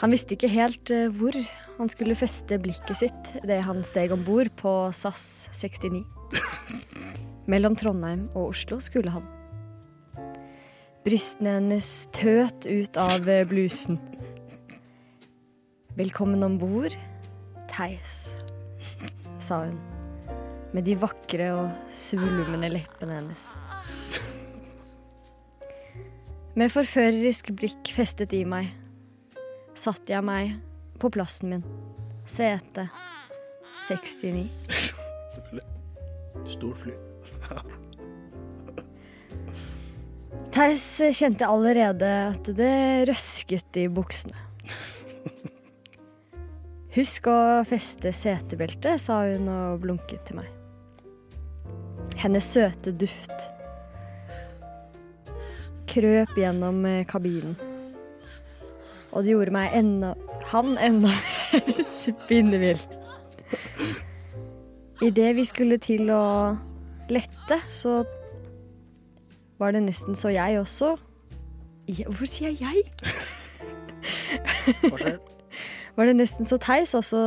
[SPEAKER 4] Han visste ikke helt eh, hvor han skulle feste blikket sitt idet han steg om bord på SAS 69. Mellom Trondheim og Oslo skulle han. Brystene hennes tøt ut av eh, blusen. Velkommen om bord, Theis, sa hun med de vakre og svulmende leppene hennes. Med forførerisk blikk festet i meg satte jeg meg på plassen min. Sete 69.
[SPEAKER 15] Stort fly.
[SPEAKER 4] Theis kjente allerede at det røsket i buksene. Husk å feste setebeltet, sa hun og blunket til meg. Hennes søte duft krøp gjennom eh, kabinen. Og det gjorde meg enda han enda mer spinnevill. Idet vi skulle til å lette, så var det nesten så jeg også jeg, Hvorfor sier jeg jeg? var det nesten så Theis også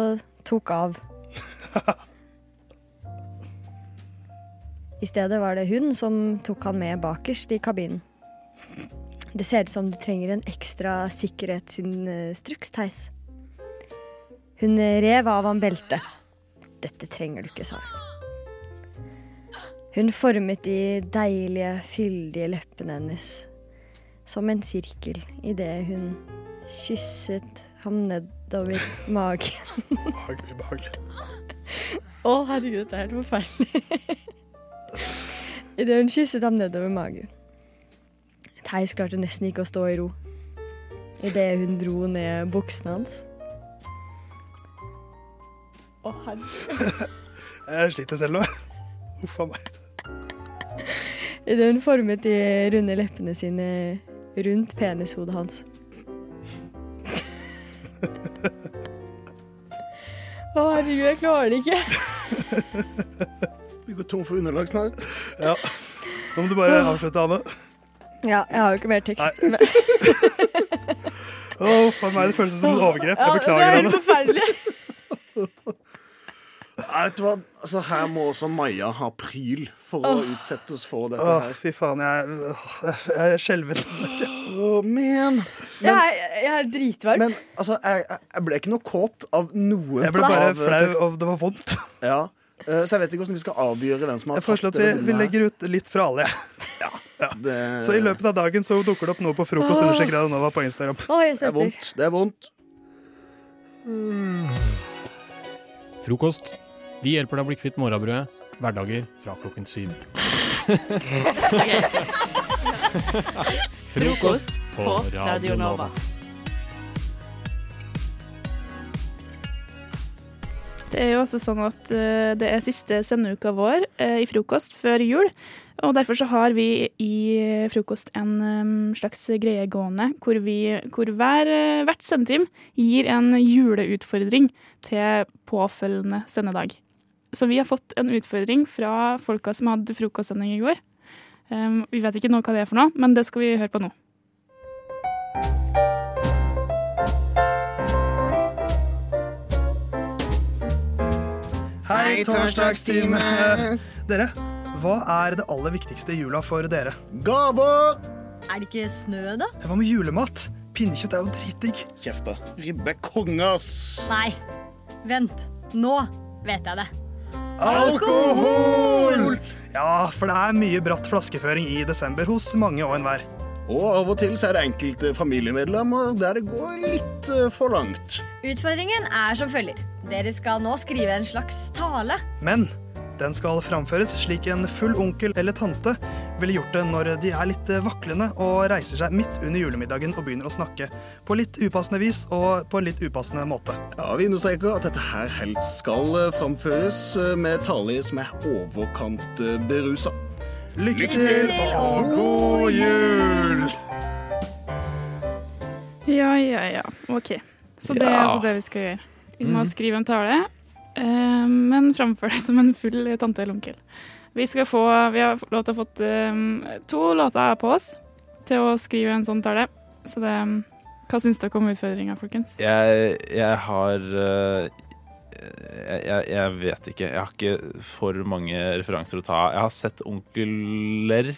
[SPEAKER 4] tok av. I stedet var det hun som tok han med bakerst i kabinen. Det ser ut som du trenger en ekstra sikkerhetsinstruks, Theis. Hun eh, rev av ham beltet. Dette trenger du ikke, sa hun. Hun formet de deilige, fyldige leppene hennes som en sirkel idet hun kysset ham nedover magen.
[SPEAKER 1] Behagelig, behagelig.
[SPEAKER 4] Å, herregud, det er helt forferdelig. Idet hun kysset ham nedover magen. Theis klarte nesten ikke å stå i ro idet hun dro ned buksene hans. Å, herregud.
[SPEAKER 8] Jeg sliter selv nå. Huff a meg.
[SPEAKER 4] Idet hun formet de runde leppene sine rundt penishodet hans. Å, herregud, jeg klarer det ikke.
[SPEAKER 15] Vi går tom for underlag snart.
[SPEAKER 8] Ja. Nå må du bare avslutte, Ane.
[SPEAKER 4] Ja, jeg har jo ikke mer tekst.
[SPEAKER 8] Nei.
[SPEAKER 4] men-
[SPEAKER 8] Åh, for meg, det føles som et overgrep. Jeg
[SPEAKER 4] Ja, det
[SPEAKER 8] beklager,
[SPEAKER 4] er helt
[SPEAKER 8] Ane.
[SPEAKER 4] forferdelig.
[SPEAKER 15] Nei, Vet du hva? Altså, her må også Maja ha pryl for å utsette oss for dette
[SPEAKER 8] Åh,
[SPEAKER 15] her.
[SPEAKER 8] fy faen, jeg, åh, jeg skjelver.
[SPEAKER 15] Åh, men
[SPEAKER 4] jeg, er dritvarm.
[SPEAKER 15] Men altså, jeg, jeg- jeg ble ikke noe kåt av noe.
[SPEAKER 8] Jeg ble bare
[SPEAKER 15] av, eh,
[SPEAKER 8] flau,
[SPEAKER 15] tekst.
[SPEAKER 8] og det var vondt.
[SPEAKER 15] Ja. Eh, Så jeg vet ikke hvordan vi skal avgjøre hvem som har
[SPEAKER 8] Jeg foreslår at vi, vi legger ut litt fra alle. jeg. Så i løpet av dagen så dukker det opp noe på frokost
[SPEAKER 15] Åh.
[SPEAKER 8] understreket Radionova på Instagram.
[SPEAKER 15] Det er vondt. Det er vondt.
[SPEAKER 1] Frokost. Vi hjelper deg å bli kvitt morgenbrødet. Hverdager fra klokken syv. Frokost på Radio Nova.
[SPEAKER 18] Det er jo også sånn at eh, det er siste sendeuka vår eh, i frokost før jul. Og derfor så har vi i eh, frokost en eh, slags greie gående hvor, vi, hvor hver, eh, hvert sendetime gir en juleutfordring til påfølgende sendedag. Så vi har fått en utfordring fra folka som hadde frokostsending i går. Eh, vi vet ikke nå hva det er for noe, men det skal vi høre på nå.
[SPEAKER 8] Hei, torsdagstime! Dere, hva er det aller viktigste i jula for dere? Eh,
[SPEAKER 15] Gaver!
[SPEAKER 4] Er det ikke snø, da?
[SPEAKER 8] Hva med julemat? Pinnekjøtt er jo dritdigg.
[SPEAKER 15] Kjeft, da. Ribbe konge, ass!
[SPEAKER 16] Nei. Vent. Nå vet jeg det.
[SPEAKER 8] Alkohol! Ja, for det er mye bratt flaskeføring i desember hos mange og enhver.
[SPEAKER 15] Og av og til så er det enkelte familiemedlemmer der det går litt eh, for langt.
[SPEAKER 16] Utfordringen er som følger. Dere skal nå skrive en slags tale.
[SPEAKER 8] Men den skal framføres slik en full onkel eller tante ville gjort det når de er litt vaklende og reiser seg midt under julemiddagen og begynner å snakke på litt upassende vis og på en litt upassende måte.
[SPEAKER 15] Ja, Vi understreker at dette her helst skal eh, framføres eh, med taler som er overkant eh, berusa.
[SPEAKER 8] Lykke til, og god jul!
[SPEAKER 18] Ja, ja, ja. OK. Så det er
[SPEAKER 8] Ja.
[SPEAKER 18] altså det vi skal gjøre. Vi må
[SPEAKER 8] Mhm.
[SPEAKER 18] skrive en tale, eh, men framfor det som en full tante eller onkel. Vi, skal få, vi har lov til å fått eh, to låter på oss til å skrive en sånn tale. Så det Hva syns dere om utfordringa, folkens?
[SPEAKER 19] Jeg, jeg har eh, jeg, jeg, jeg vet ikke. Jeg har ikke for mange referanser å ta. Jeg har sett onkler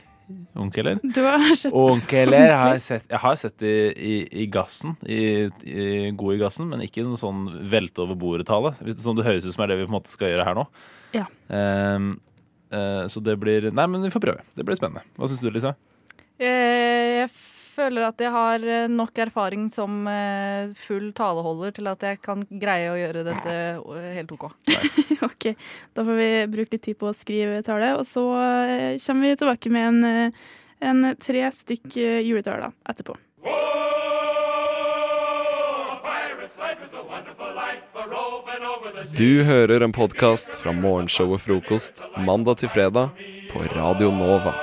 [SPEAKER 19] Onkeler?
[SPEAKER 18] Du har sett
[SPEAKER 19] Onkeler har
[SPEAKER 18] onkler.
[SPEAKER 19] jeg sett, jeg har sett i, i, i gassen. I, i, god i gassen, men ikke noen sånn velte over bordet-tale. hvis- Som det høres ut som er det vi på en måte skal gjøre her nå.
[SPEAKER 18] Ja.
[SPEAKER 19] Ehm, eh, så det blir Nei, men vi får prøve. Det blir spennende. Hva syns du, Lisa?
[SPEAKER 10] Eh, Jeg føler at jeg har eh, nok erfaring som eh, full taleholder til at jeg kan greie å gjøre dette eh, helt OK.
[SPEAKER 18] OK. Da får vi bruke litt tid på å skrive tale, og så eh, kommer vi tilbake med en, eh, en tre stykk eh, juletaler etterpå.
[SPEAKER 20] Du hører en podkast fra morgenshowet Frokost mandag til fredag på Radio Nova.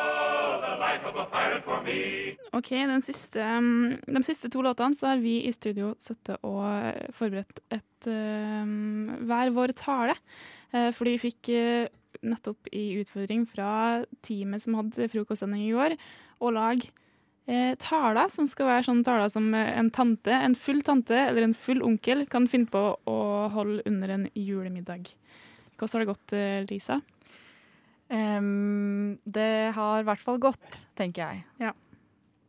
[SPEAKER 18] OK, den siste, um, de siste to låtene så har vi i studio sittet og eh, forberedt et um, hver vår tale. Eh, Fordi vi fikk eh, nettopp i utfordring fra teamet som hadde frokostsending i går, å lage eh, taler som skal være sånne taler som eh, en tante, en full tante eller en full onkel kan finne på å holde under en julemiddag. Hvordan har det gått, eh, Lisa?
[SPEAKER 10] Ehm, det har i hvert fall gått, tenker jeg.
[SPEAKER 18] Ja.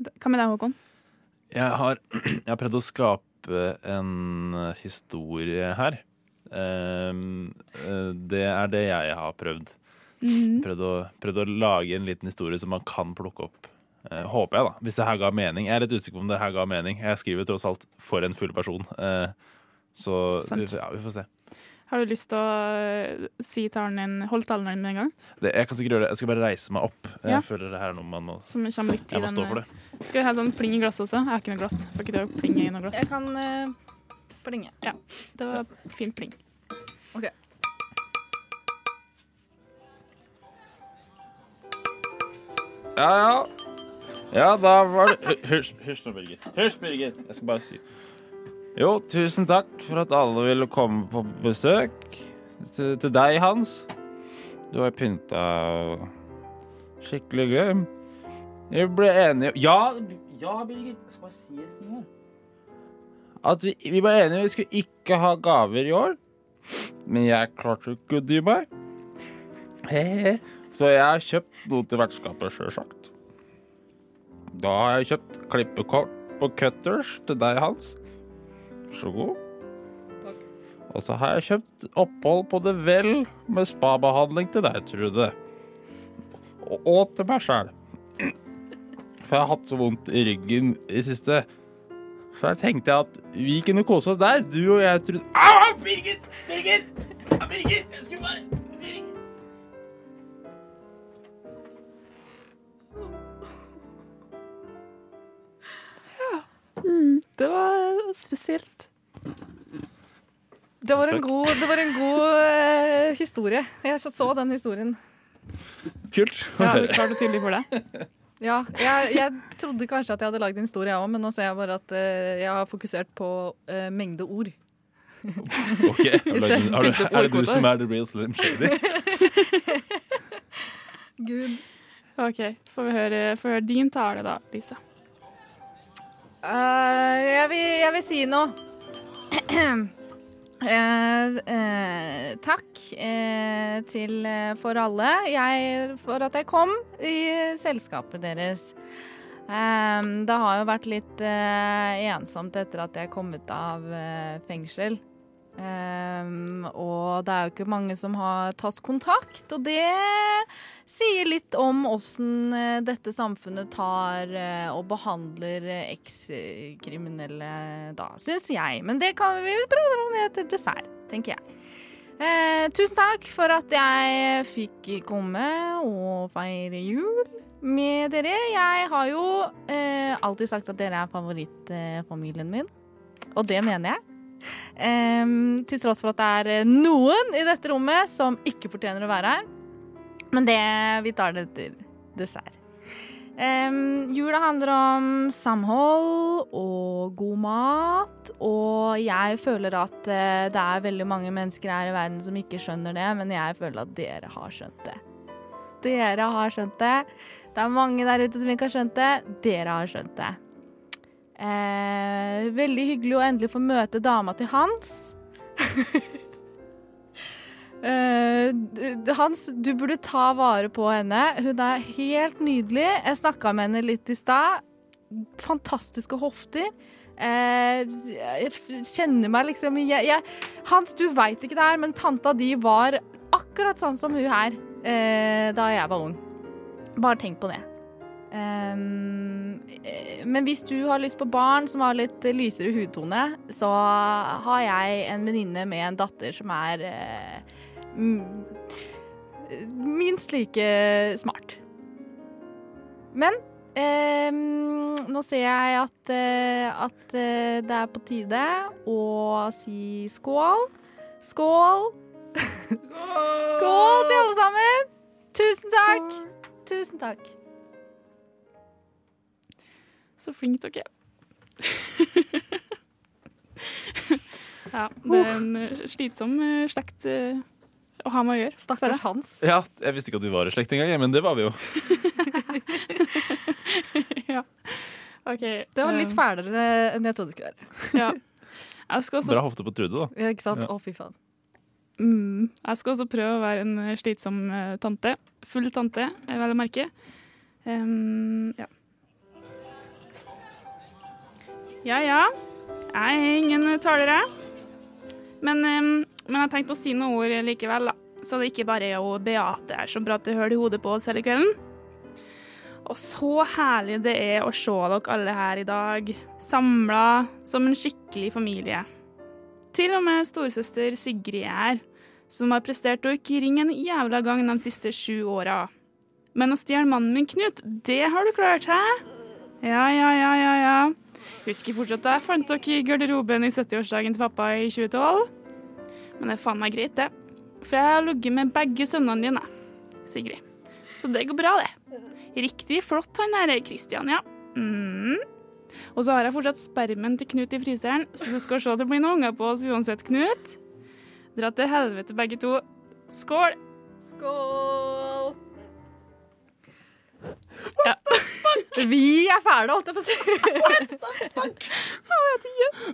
[SPEAKER 18] Hva med deg, Håkon?
[SPEAKER 19] Jeg har, jeg har prøvd å skape en historie her. Ehm, eh, det er det jeg har prøvd.
[SPEAKER 18] Mhm.
[SPEAKER 19] Prøvd, å, prøvd å lage en liten historie som man kan plukke opp. Eh, håper jeg, da. Hvis det her ga mening. Jeg er litt usikker på om det her ga mening. Jeg skriver tross alt for en full person. Eh, så
[SPEAKER 18] Sant.
[SPEAKER 19] vi får- ja, vi får se.
[SPEAKER 18] Har du lyst til å eh, si talen din, holde talen din med en gang?
[SPEAKER 19] Det, jeg kan sikkert gjøre det. Jeg skal bare reise meg opp.
[SPEAKER 18] Ja.
[SPEAKER 19] Jeg føler det her er noe man må
[SPEAKER 18] Som kommer litt i
[SPEAKER 19] Jeg må
[SPEAKER 18] den, eh,
[SPEAKER 19] stå for det.
[SPEAKER 18] Skal vi ha sånn pling i glasset også? Jeg har ikke noe glass. Får ikke du å plinge i noe glass?
[SPEAKER 10] Jeg kan uh, plinge.
[SPEAKER 18] Ja, det var fint pling.
[SPEAKER 10] Ok.
[SPEAKER 19] Ja, ja. Ja, da var det Hysj, hysj nå, Birgit. Hysj, Birgit. Jeg skal bare si Jo, tusen takk for at alle ville komme på besøk. Til, til deg, Hans. Du har pynta skikkelig gøy. Vi ble enige Ja, ja, Birgit. Jeg skal bare si en ting her. At vi, vi ble enige vi skulle ikke ha gaver i år. Men jeg klarte jo ikke å dy meg. Hehe. Så jeg har kjøpt noe til vertskapet, sjølsagt. Da har jeg kjøpt klippekort på Cutters til deg, Hans. Vær så god. Og så har jeg kjøpt opphold på det vel med spabehandling til deg, Trude. Og, og til meg sjæl. For jeg har hatt så vondt i ryggen i siste. Så her tenkte jeg at vi kunne kose oss der, du og jeg, Trude. Au! Birgit! Birgit! Ja, Birgit! Jeg skulle bare Birgit!
[SPEAKER 18] Mm, det var spesielt.
[SPEAKER 10] Det var en
[SPEAKER 19] Takk.
[SPEAKER 10] god, det var en god eh, historie. Jeg så- så den historien.
[SPEAKER 19] Kult.
[SPEAKER 18] Ja, det klarte du tydelig for deg.
[SPEAKER 10] Ja, jeg, jeg trodde kanskje at jeg hadde lagd en historie, jeg òg, men nå ser jeg bare at eh, jeg har fokusert på eh, mengde ord.
[SPEAKER 19] Ok, har du lagd en- har du,
[SPEAKER 10] Fylt opp
[SPEAKER 19] er det du
[SPEAKER 10] ordkvote.
[SPEAKER 19] som er the real Slim Shady?
[SPEAKER 18] Gud. OK, får vi høre, får vi høre din tale da, Lisa.
[SPEAKER 10] Eh, jeg, vil, jeg vil si noe. Eh, eh, takk eh, til eh, for alle jeg, for at jeg kom i selskapet deres. Eh, det har jo vært litt eh, ensomt etter at jeg kom ut av eh, fengsel. Eh, og det er jo ikke mange som har tatt kontakt, og det sier litt om åssen eh, dette samfunnet tar eh, og behandler eh, ekskriminelle, da, syns jeg. Men det kan vi vel prate om etter dessert, tenker jeg. Eh, tusen takk for at jeg fikk komme og feire jul med dere. Jeg har jo eh, alltid sagt at dere er favorittfamilien min, og det mener jeg. Em, til tross for at det er eh, noen i dette rommet som ikke fortjener å være her. Men det, vi tar det til dessert. Em, jula handler om samhold og god mat, og jeg føler at eh, det er veldig mange mennesker her i verden som ikke skjønner det, men jeg føler at dere har skjønt det. Dere har skjønt det. Det er mange der ute som ikke har skjønt det. Dere har skjønt det. Eh, veldig hyggelig å endelig få møte dama til Hans. Eh, d- Hans, du burde ta vare på henne. Hun er helt nydelig. Jeg snakka med henne litt i stad. Fantastiske hofter. Eh, jeg f- kjenner meg liksom jeg, jeg, Hans, du veit ikke det her, men tanta di var akkurat sånn som hun her eh, da jeg var ung. Bare tenk på det. Ehm, eh, men hvis du har lyst på barn som har litt eh, lysere hudtone, så har jeg en venninne med en datter som er eh, m- eh, minst like smart. Men ehm, nå ser jeg at, eh, at eh, det er på tide å si skål. Skål! Skål til alle sammen! Tusen takk! Tusen takk.
[SPEAKER 18] Så flink dere er. ja, det
[SPEAKER 10] Oh.
[SPEAKER 18] er en eh, slitsom eh, slekt eh, å ha med å gjøre. Stakkars
[SPEAKER 10] Hans.
[SPEAKER 19] Ja, jeg visste ikke at vi var i slekt engang, jeg, men det var vi jo.
[SPEAKER 10] Det var litt
[SPEAKER 18] um,
[SPEAKER 10] fælere enn jeg trodde det skulle være.
[SPEAKER 18] Ja. Jeg skal også
[SPEAKER 19] Bra hofte på Trude, da.
[SPEAKER 10] sånn- Ja, ikke sant?
[SPEAKER 19] Ja.
[SPEAKER 10] Å, fy faen.
[SPEAKER 18] Mm. Jeg skal også prøve å være en eh, slitsom eh, tante. Full tante, eh, vel å merke. Ehm, ja. ja ja. Jeg er ingen taler, jeg. Men, ehm, men jeg tenkte å si noen ord likevel, da. Så det ikke bare er jo Beate her som prater høl i hodet på oss hele kvelden. Og så herlig det er å se dere alle her i dag, samla som en skikkelig familie. Til og med storesøster Sigrid er her, som har prestert å ikke ringe en jævla gang de siste sju åra. Men å stjele mannen min, Knut, det har du klart, hæ? Ja, ja, ja, ja, ja. Husker fortsatt da jeg fant dere i garderoben i 70-årsdagen til pappa i 2012. Men det er faen meg greit, det. For jeg har ligget med begge sønnene dine, Sigrid. Så det går bra, det. Riktig flott, han der Christian, ja. Mm. Og så har jeg fortsatt spermen til Knut i fryseren, så du skal se det blir noen unger på oss uansett, Knut. Dra til helvete, begge to. Skål!
[SPEAKER 9] Skål!
[SPEAKER 10] Vi er ferdige, holdt jeg på å si.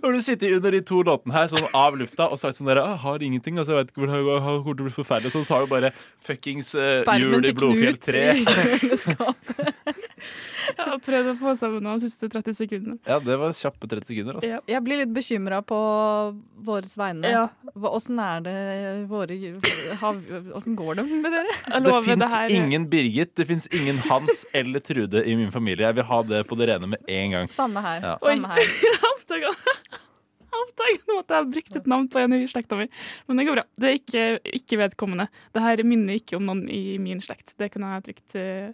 [SPEAKER 19] Har du sittet under de to låtene her sånn av lufta og sagt sånn der, «Åh, har ingenting, altså jeg vet ikke hvordan det går, har kommer til å bli forferdelig, så har du bare fuckings eh, jul i Blodfjell 3.
[SPEAKER 18] Jeg har prøvd å få sammen noe de siste 30 sekundene.
[SPEAKER 19] ja, det var kjappe 30 sekunder, altså.
[SPEAKER 10] Jeg blir litt bekymra på våres vegne.
[SPEAKER 18] Ja.
[SPEAKER 10] Hva- Åssen er det våre har- Åssen går det med dere?
[SPEAKER 19] Det fins ingen Birgit, det fins ingen Hans eller Trude i min familie. Jeg vil ha det på det rene med en gang.
[SPEAKER 10] Samme her.
[SPEAKER 19] Ja.
[SPEAKER 10] Samme her.
[SPEAKER 18] Oppdaget nå at jeg har brukt et navn på en i slekta mi. Men det går bra. Det er ikke, ikke vedkommende. Det her minner ikke om noen i min slekt. Det kan jeg trygt eh,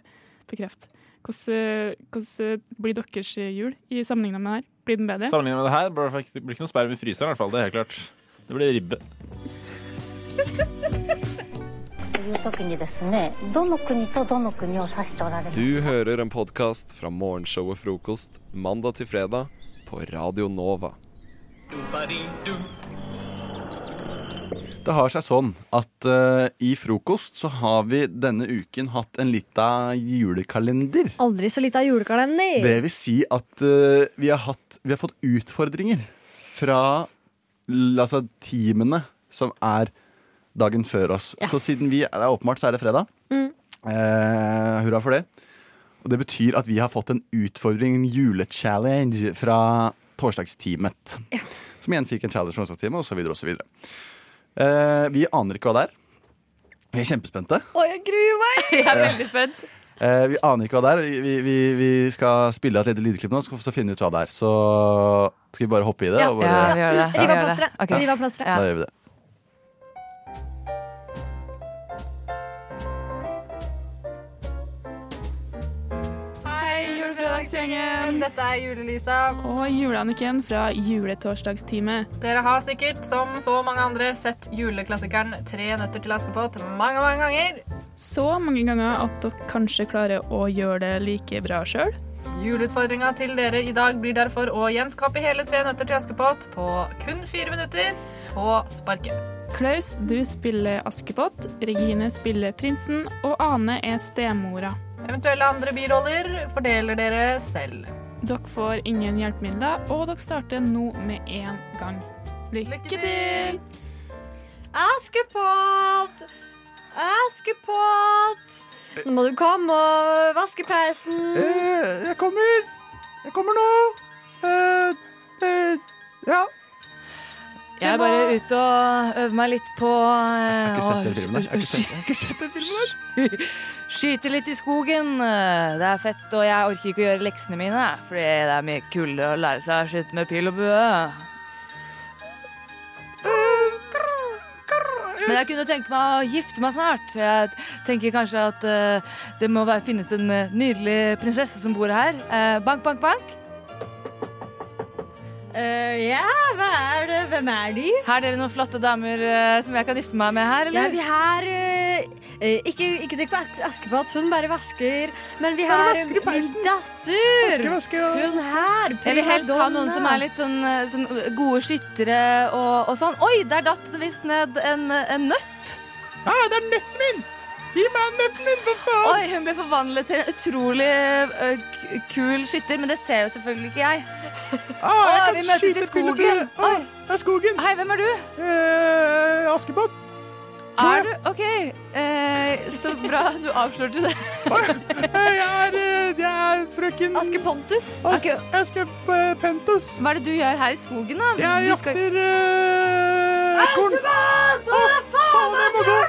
[SPEAKER 18] bekrefte. Hvordan, eh, hvordan blir deres jul i sammenligna med det her? Blir den bedre?
[SPEAKER 19] Sammenlignet med det her blir det faktisk- det blir ikke noe sperm i fryseren, i hvert fall. Det er helt klart. Det blir ribbe.
[SPEAKER 21] という時にですねどの国とどの国を指しておられます
[SPEAKER 20] Du hører en podkast fra morgenshowet Frokost mandag til fredag på Radio Nova.
[SPEAKER 22] Det har seg sånn at eh, i frokost så har vi denne uken hatt en lita julekalender.
[SPEAKER 16] Aldri så lita julekalender.
[SPEAKER 22] Det vil si at eh, vi, har hatt, vi har fått utfordringer fra l- altså, teamene som er dagen før oss. Så siden vi det er åpenbart, så er det fredag.
[SPEAKER 16] Mm.
[SPEAKER 22] Eh, hurra for det. Og det betyr at vi har fått en utfordring, en julechallenge, fra torsdagsteamet. Som igjen fikk en challenge fra onsdagsteamet, osv. osv. Eh, vi aner ikke hva det er. Vi er kjempespente.
[SPEAKER 16] Å, jeg gruer meg!
[SPEAKER 22] Jeg er veldig
[SPEAKER 10] spent.
[SPEAKER 22] Eh, vi aner ikke hva det er. Vi, vi, vi skal spille et lite lydklipp nå, så skal vi så finne ut hva det er. Så skal vi bare hoppe i det?
[SPEAKER 16] Ja.
[SPEAKER 22] og bare...
[SPEAKER 16] Ja, vi gjør det. Riv av
[SPEAKER 22] Ja.
[SPEAKER 16] plasteret. Ok. Riv av plasteret.
[SPEAKER 22] Da gjør vi det.
[SPEAKER 18] Hei, julefredagsgjengen! Dette er Julelisa. Og Juleanniken fra Juletorsdagsteamet.
[SPEAKER 10] Dere har sikkert, som så mange andre, sett juleklassikeren 'Tre nøtter til Askepott' mange, mange ganger.
[SPEAKER 18] Så mange ganger at dere kanskje klarer å gjøre det like bra sjøl.
[SPEAKER 10] Juleutfordringa til dere i dag blir derfor å gjenskape hele 'Tre nøtter til Askepott' på kun fire minutter på sparket.
[SPEAKER 18] Klaus, du spiller Askepott, Regine spiller prinsen, og Ane er stemora.
[SPEAKER 10] Eventuelle andre biroller fordeler dere selv.
[SPEAKER 18] Dere får ingen hjelpemidler, og dere starter nå med en gang. Lykke, til!
[SPEAKER 16] Askepott! Askepott! Nå må du komme og vaske peisen. Eh,
[SPEAKER 22] Jeg kommer. Jeg kommer nå.
[SPEAKER 16] Eh,
[SPEAKER 22] ja.
[SPEAKER 6] Jeg er bare ute og øver meg litt på eh,
[SPEAKER 22] Jeg har ikke sett den
[SPEAKER 6] å
[SPEAKER 22] filmen der. Jeg har ikke sett- jeg har ikke sett den filmen der.
[SPEAKER 6] Skyte litt i skogen. Det er fett, og jeg orker ikke å gjøre leksene mine, fordi det er mye kulde å lære seg å skyte med pil og bue. Men jeg kunne tenke meg å gifte meg snart. Jeg tenker kanskje at eh, det må være, finnes en eh, nydelig prinsesse som bor her. Eh, bank, bank, bank.
[SPEAKER 16] Eh, ja, hva er det? Hvem er de?
[SPEAKER 6] Har dere noen flotte damer eh, som jeg kan gifte meg med her,
[SPEAKER 16] Ja,
[SPEAKER 6] eller?
[SPEAKER 16] vi har eh, eh, Ikke, ikke tenk på Ak- Askepott, hun bare vasker. Men vi
[SPEAKER 6] Bare
[SPEAKER 16] har
[SPEAKER 6] vasker i
[SPEAKER 16] min
[SPEAKER 6] peisen.
[SPEAKER 16] datter.
[SPEAKER 6] Vaske, vaske, ja.
[SPEAKER 16] Hun her.
[SPEAKER 6] Jeg vil helst ha noen
[SPEAKER 16] primadonna.
[SPEAKER 6] som er litt sånn, eh, sånn gode skyttere og, og sånn. Oi, der datt det visst ned en, en nøtt. Ja, det er nøtten min! Gi meg nøtten min, for faen! Oi, hun ble forvandlet til en utrolig eh, k- kul skytter, men det ser jo selvfølgelig ikke Ah, jeg.
[SPEAKER 22] jeg
[SPEAKER 6] Å,
[SPEAKER 22] kan
[SPEAKER 6] vi møtes i
[SPEAKER 22] skyte pil og bue.
[SPEAKER 6] skogen. Eh,
[SPEAKER 22] Å,
[SPEAKER 6] Oi. Hei, hvem er du?
[SPEAKER 22] Askepott.
[SPEAKER 6] Er du OK. Eh, så bra du avslørte det.
[SPEAKER 16] Jeg er, frøken
[SPEAKER 6] Aske Pontus.
[SPEAKER 16] Aske, eh, Pentus.
[SPEAKER 6] Hva er det du gjør her i skogen, da?
[SPEAKER 16] Jeg jakter eh, korn.
[SPEAKER 6] Hva faen er det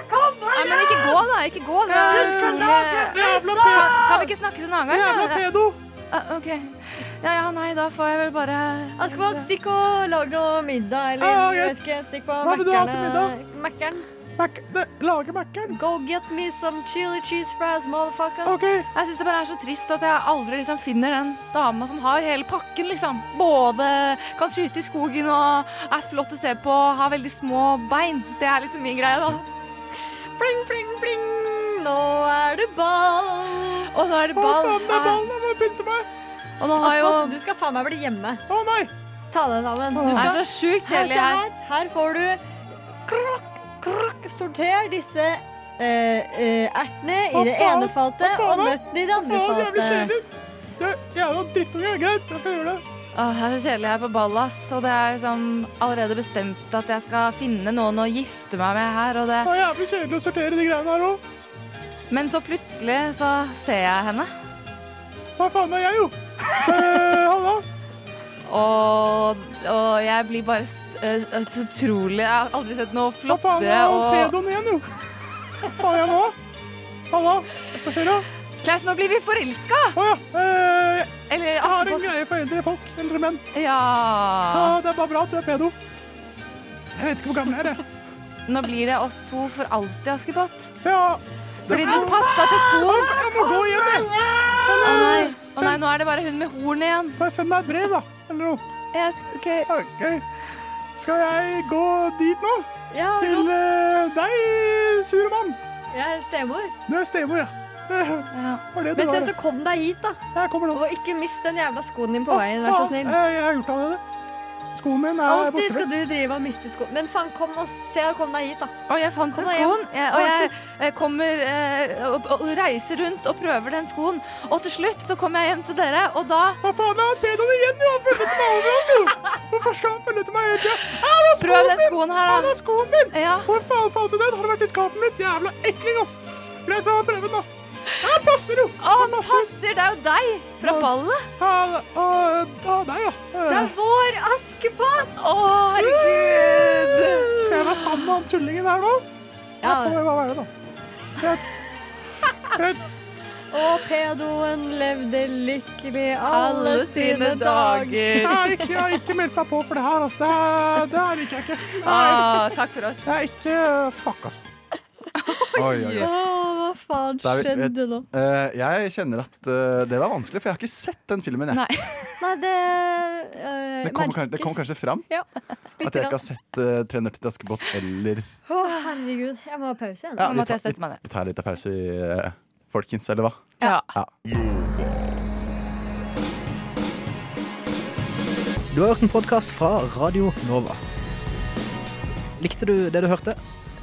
[SPEAKER 6] Nei, men ikke gå, da. Ikke gå. Det er
[SPEAKER 16] Jævla
[SPEAKER 6] utrolig
[SPEAKER 16] jævla
[SPEAKER 6] Kan-
[SPEAKER 16] pedo.
[SPEAKER 6] Kan vi ikke snakkes en annen gang? da?
[SPEAKER 16] Jævla pedo.
[SPEAKER 6] Ah, OK. Ja, ja, nei, da får jeg vel bare
[SPEAKER 4] Askepott, stikk og lag noe middag,
[SPEAKER 16] Ah,
[SPEAKER 4] eller
[SPEAKER 6] Ja,
[SPEAKER 4] jeg vet
[SPEAKER 6] greit.
[SPEAKER 4] ikke, stikk på eh,
[SPEAKER 6] Hva vil du ha til
[SPEAKER 4] Mækkern. Lage mækkern. Go get me some chili cheese fries, motherfucker.
[SPEAKER 6] Jeg syns det bare er så trist at jeg aldri liksom finner den dama som har hele pakken, liksom. Både kan skyte i skogen og er flott å se på, har veldig små bein. Det er liksom min greie, da.
[SPEAKER 4] Pling, pling, pling. Nå er det ball.
[SPEAKER 6] Og nå er det ball. Ah.
[SPEAKER 4] Å, faen, det er ball. Jeg må pynte meg.
[SPEAKER 6] Og nå har jo
[SPEAKER 4] Askepott, du skal faen meg bli hjemme. Å nei. Ta deg sammen.
[SPEAKER 6] Det
[SPEAKER 4] Du
[SPEAKER 6] er
[SPEAKER 4] skal-
[SPEAKER 6] så sjukt kjedelig
[SPEAKER 4] se
[SPEAKER 6] her.
[SPEAKER 4] Her får du krokk, krokk, sorter disse eh, eh, ertene i
[SPEAKER 16] Hva
[SPEAKER 4] det
[SPEAKER 16] faen?
[SPEAKER 4] ene fatet
[SPEAKER 16] Hva faen,
[SPEAKER 4] og
[SPEAKER 16] da?
[SPEAKER 4] nøttene i det andre
[SPEAKER 16] Faen, jævlig
[SPEAKER 4] fatet.
[SPEAKER 16] kjedelig. Jeg jeg er jo en drittunge. Greit, jeg skal gjøre det.
[SPEAKER 6] Åh, det er så kjedelig her på ball, ass. Og det er liksom allerede bestemt at jeg skal finne noen å gifte meg med her, og det
[SPEAKER 16] Det er jævlig kjedelig å sortere de greiene her òg.
[SPEAKER 6] Men så plutselig så ser jeg henne.
[SPEAKER 16] Hva faen er jeg, jo? Eh, Halla.
[SPEAKER 6] Og, og jeg blir bare st- eh, eh, utrolig Jeg har aldri sett noe
[SPEAKER 16] Hva faen
[SPEAKER 6] flottere
[SPEAKER 16] er
[SPEAKER 6] og
[SPEAKER 16] pedoen igjen, jo? Hva faen er jeg nå? Halla. Hva skjer, da?
[SPEAKER 6] Klaus, nå blir vi forelska!
[SPEAKER 16] Å ja. Eh,
[SPEAKER 6] Eller
[SPEAKER 16] jeg har en
[SPEAKER 6] Askepott.
[SPEAKER 16] greie for eldre folk. Eldre menn. Så
[SPEAKER 6] Ja.
[SPEAKER 16] det er bare bra at du er pedo. Jeg vet ikke hvor gammel jeg er, jeg.
[SPEAKER 6] Nå blir det oss to for alltid, Askepott.
[SPEAKER 16] Ja.
[SPEAKER 6] Fordi du passa til skoen.
[SPEAKER 16] Jeg må gå hjem, jeg.
[SPEAKER 6] Å nei. Å nei, nå er det bare hun med horn igjen.
[SPEAKER 16] Bare send meg et brev, da. Eller noe.
[SPEAKER 6] Yes, ok.
[SPEAKER 16] Ok. Skal jeg gå dit nå?
[SPEAKER 4] Ja,
[SPEAKER 16] Til eh, deg, sure mann.
[SPEAKER 4] Jeg er stemor.
[SPEAKER 16] Du er stemor, ja.
[SPEAKER 6] ja.
[SPEAKER 16] Var det du
[SPEAKER 4] Men
[SPEAKER 16] var?
[SPEAKER 4] se, så kom deg hit, da. Og ikke mist den jævla skoen din på
[SPEAKER 16] Å,
[SPEAKER 4] veien, vær så
[SPEAKER 16] faen, Eh,
[SPEAKER 4] snill.
[SPEAKER 16] Jeg, jeg har gjort allerede. Skoen min er
[SPEAKER 4] Alltid
[SPEAKER 16] borte.
[SPEAKER 4] skal du drive og miste skoen. Men faen, kom og se og kom deg hit, da.
[SPEAKER 6] Og jeg fant
[SPEAKER 4] Kom
[SPEAKER 6] den
[SPEAKER 4] deg hjem.
[SPEAKER 6] skoen, jeg, og
[SPEAKER 4] Å,
[SPEAKER 6] jeg
[SPEAKER 4] shit.
[SPEAKER 6] eh, kommer eh, og, og reiser rundt og prøver den skoen. Og til slutt så kommer jeg hjem til dere, og da
[SPEAKER 16] Hva faen er pedoen igjen? Jo, han følger etter meg overalt, jo. Hvorfor skal han følge etter meg hele tida? Han har skoen
[SPEAKER 6] Prøv den
[SPEAKER 16] min!
[SPEAKER 6] skoen her, da.
[SPEAKER 16] Han har skoen min!
[SPEAKER 6] Ja.
[SPEAKER 16] Hvor faen fant du den? Har det vært i skapet mitt? Jævla ekling, ass. Greit, la meg prøve den, da. Ja, den passer jo.
[SPEAKER 6] Å, han passer! Det er jo deg fra ballet.
[SPEAKER 16] Ja, og og deg, ja.
[SPEAKER 4] Det er vår Askepott!
[SPEAKER 6] Å, herregud.
[SPEAKER 16] Skal jeg være sammen med han tullingen her nå? Ja.
[SPEAKER 4] Ja.
[SPEAKER 16] Da får jeg bare være det, da. Greit. Greit.
[SPEAKER 4] Og pedoen levde lykkelig alle,
[SPEAKER 6] Alle sine
[SPEAKER 4] sine
[SPEAKER 6] dager.
[SPEAKER 4] dager.
[SPEAKER 16] Jeg har ikke, jeg har ikke meldt meg på for det her, altså. Det, her- det her liker jeg ikke.
[SPEAKER 4] Ah,
[SPEAKER 6] Å, takk for oss.
[SPEAKER 16] Jeg er ikke Fuck, altså.
[SPEAKER 22] Oi, oi, oi.
[SPEAKER 4] hva faen
[SPEAKER 22] Da er vi-
[SPEAKER 4] skjedde nå?
[SPEAKER 22] Eh, jeg kjenner at eh, det var vanskelig, for jeg har ikke sett den filmen. Jeg.
[SPEAKER 4] Nei, det øh,
[SPEAKER 22] Det kom,
[SPEAKER 4] merkes.
[SPEAKER 22] kanskje, det kom kanskje fram
[SPEAKER 4] Ja,
[SPEAKER 22] at jeg ikke har sett uh, 'Trenert til Askepott' eller
[SPEAKER 4] Å, herregud. Jeg må ha pause igjen.
[SPEAKER 22] Ja, vi, tar, vi, vi tar litt av pause, i, eh, folkens, eller hva?
[SPEAKER 6] Ja.
[SPEAKER 23] Du har hørt en podkast fra Radio Nova. Likte du det du hørte?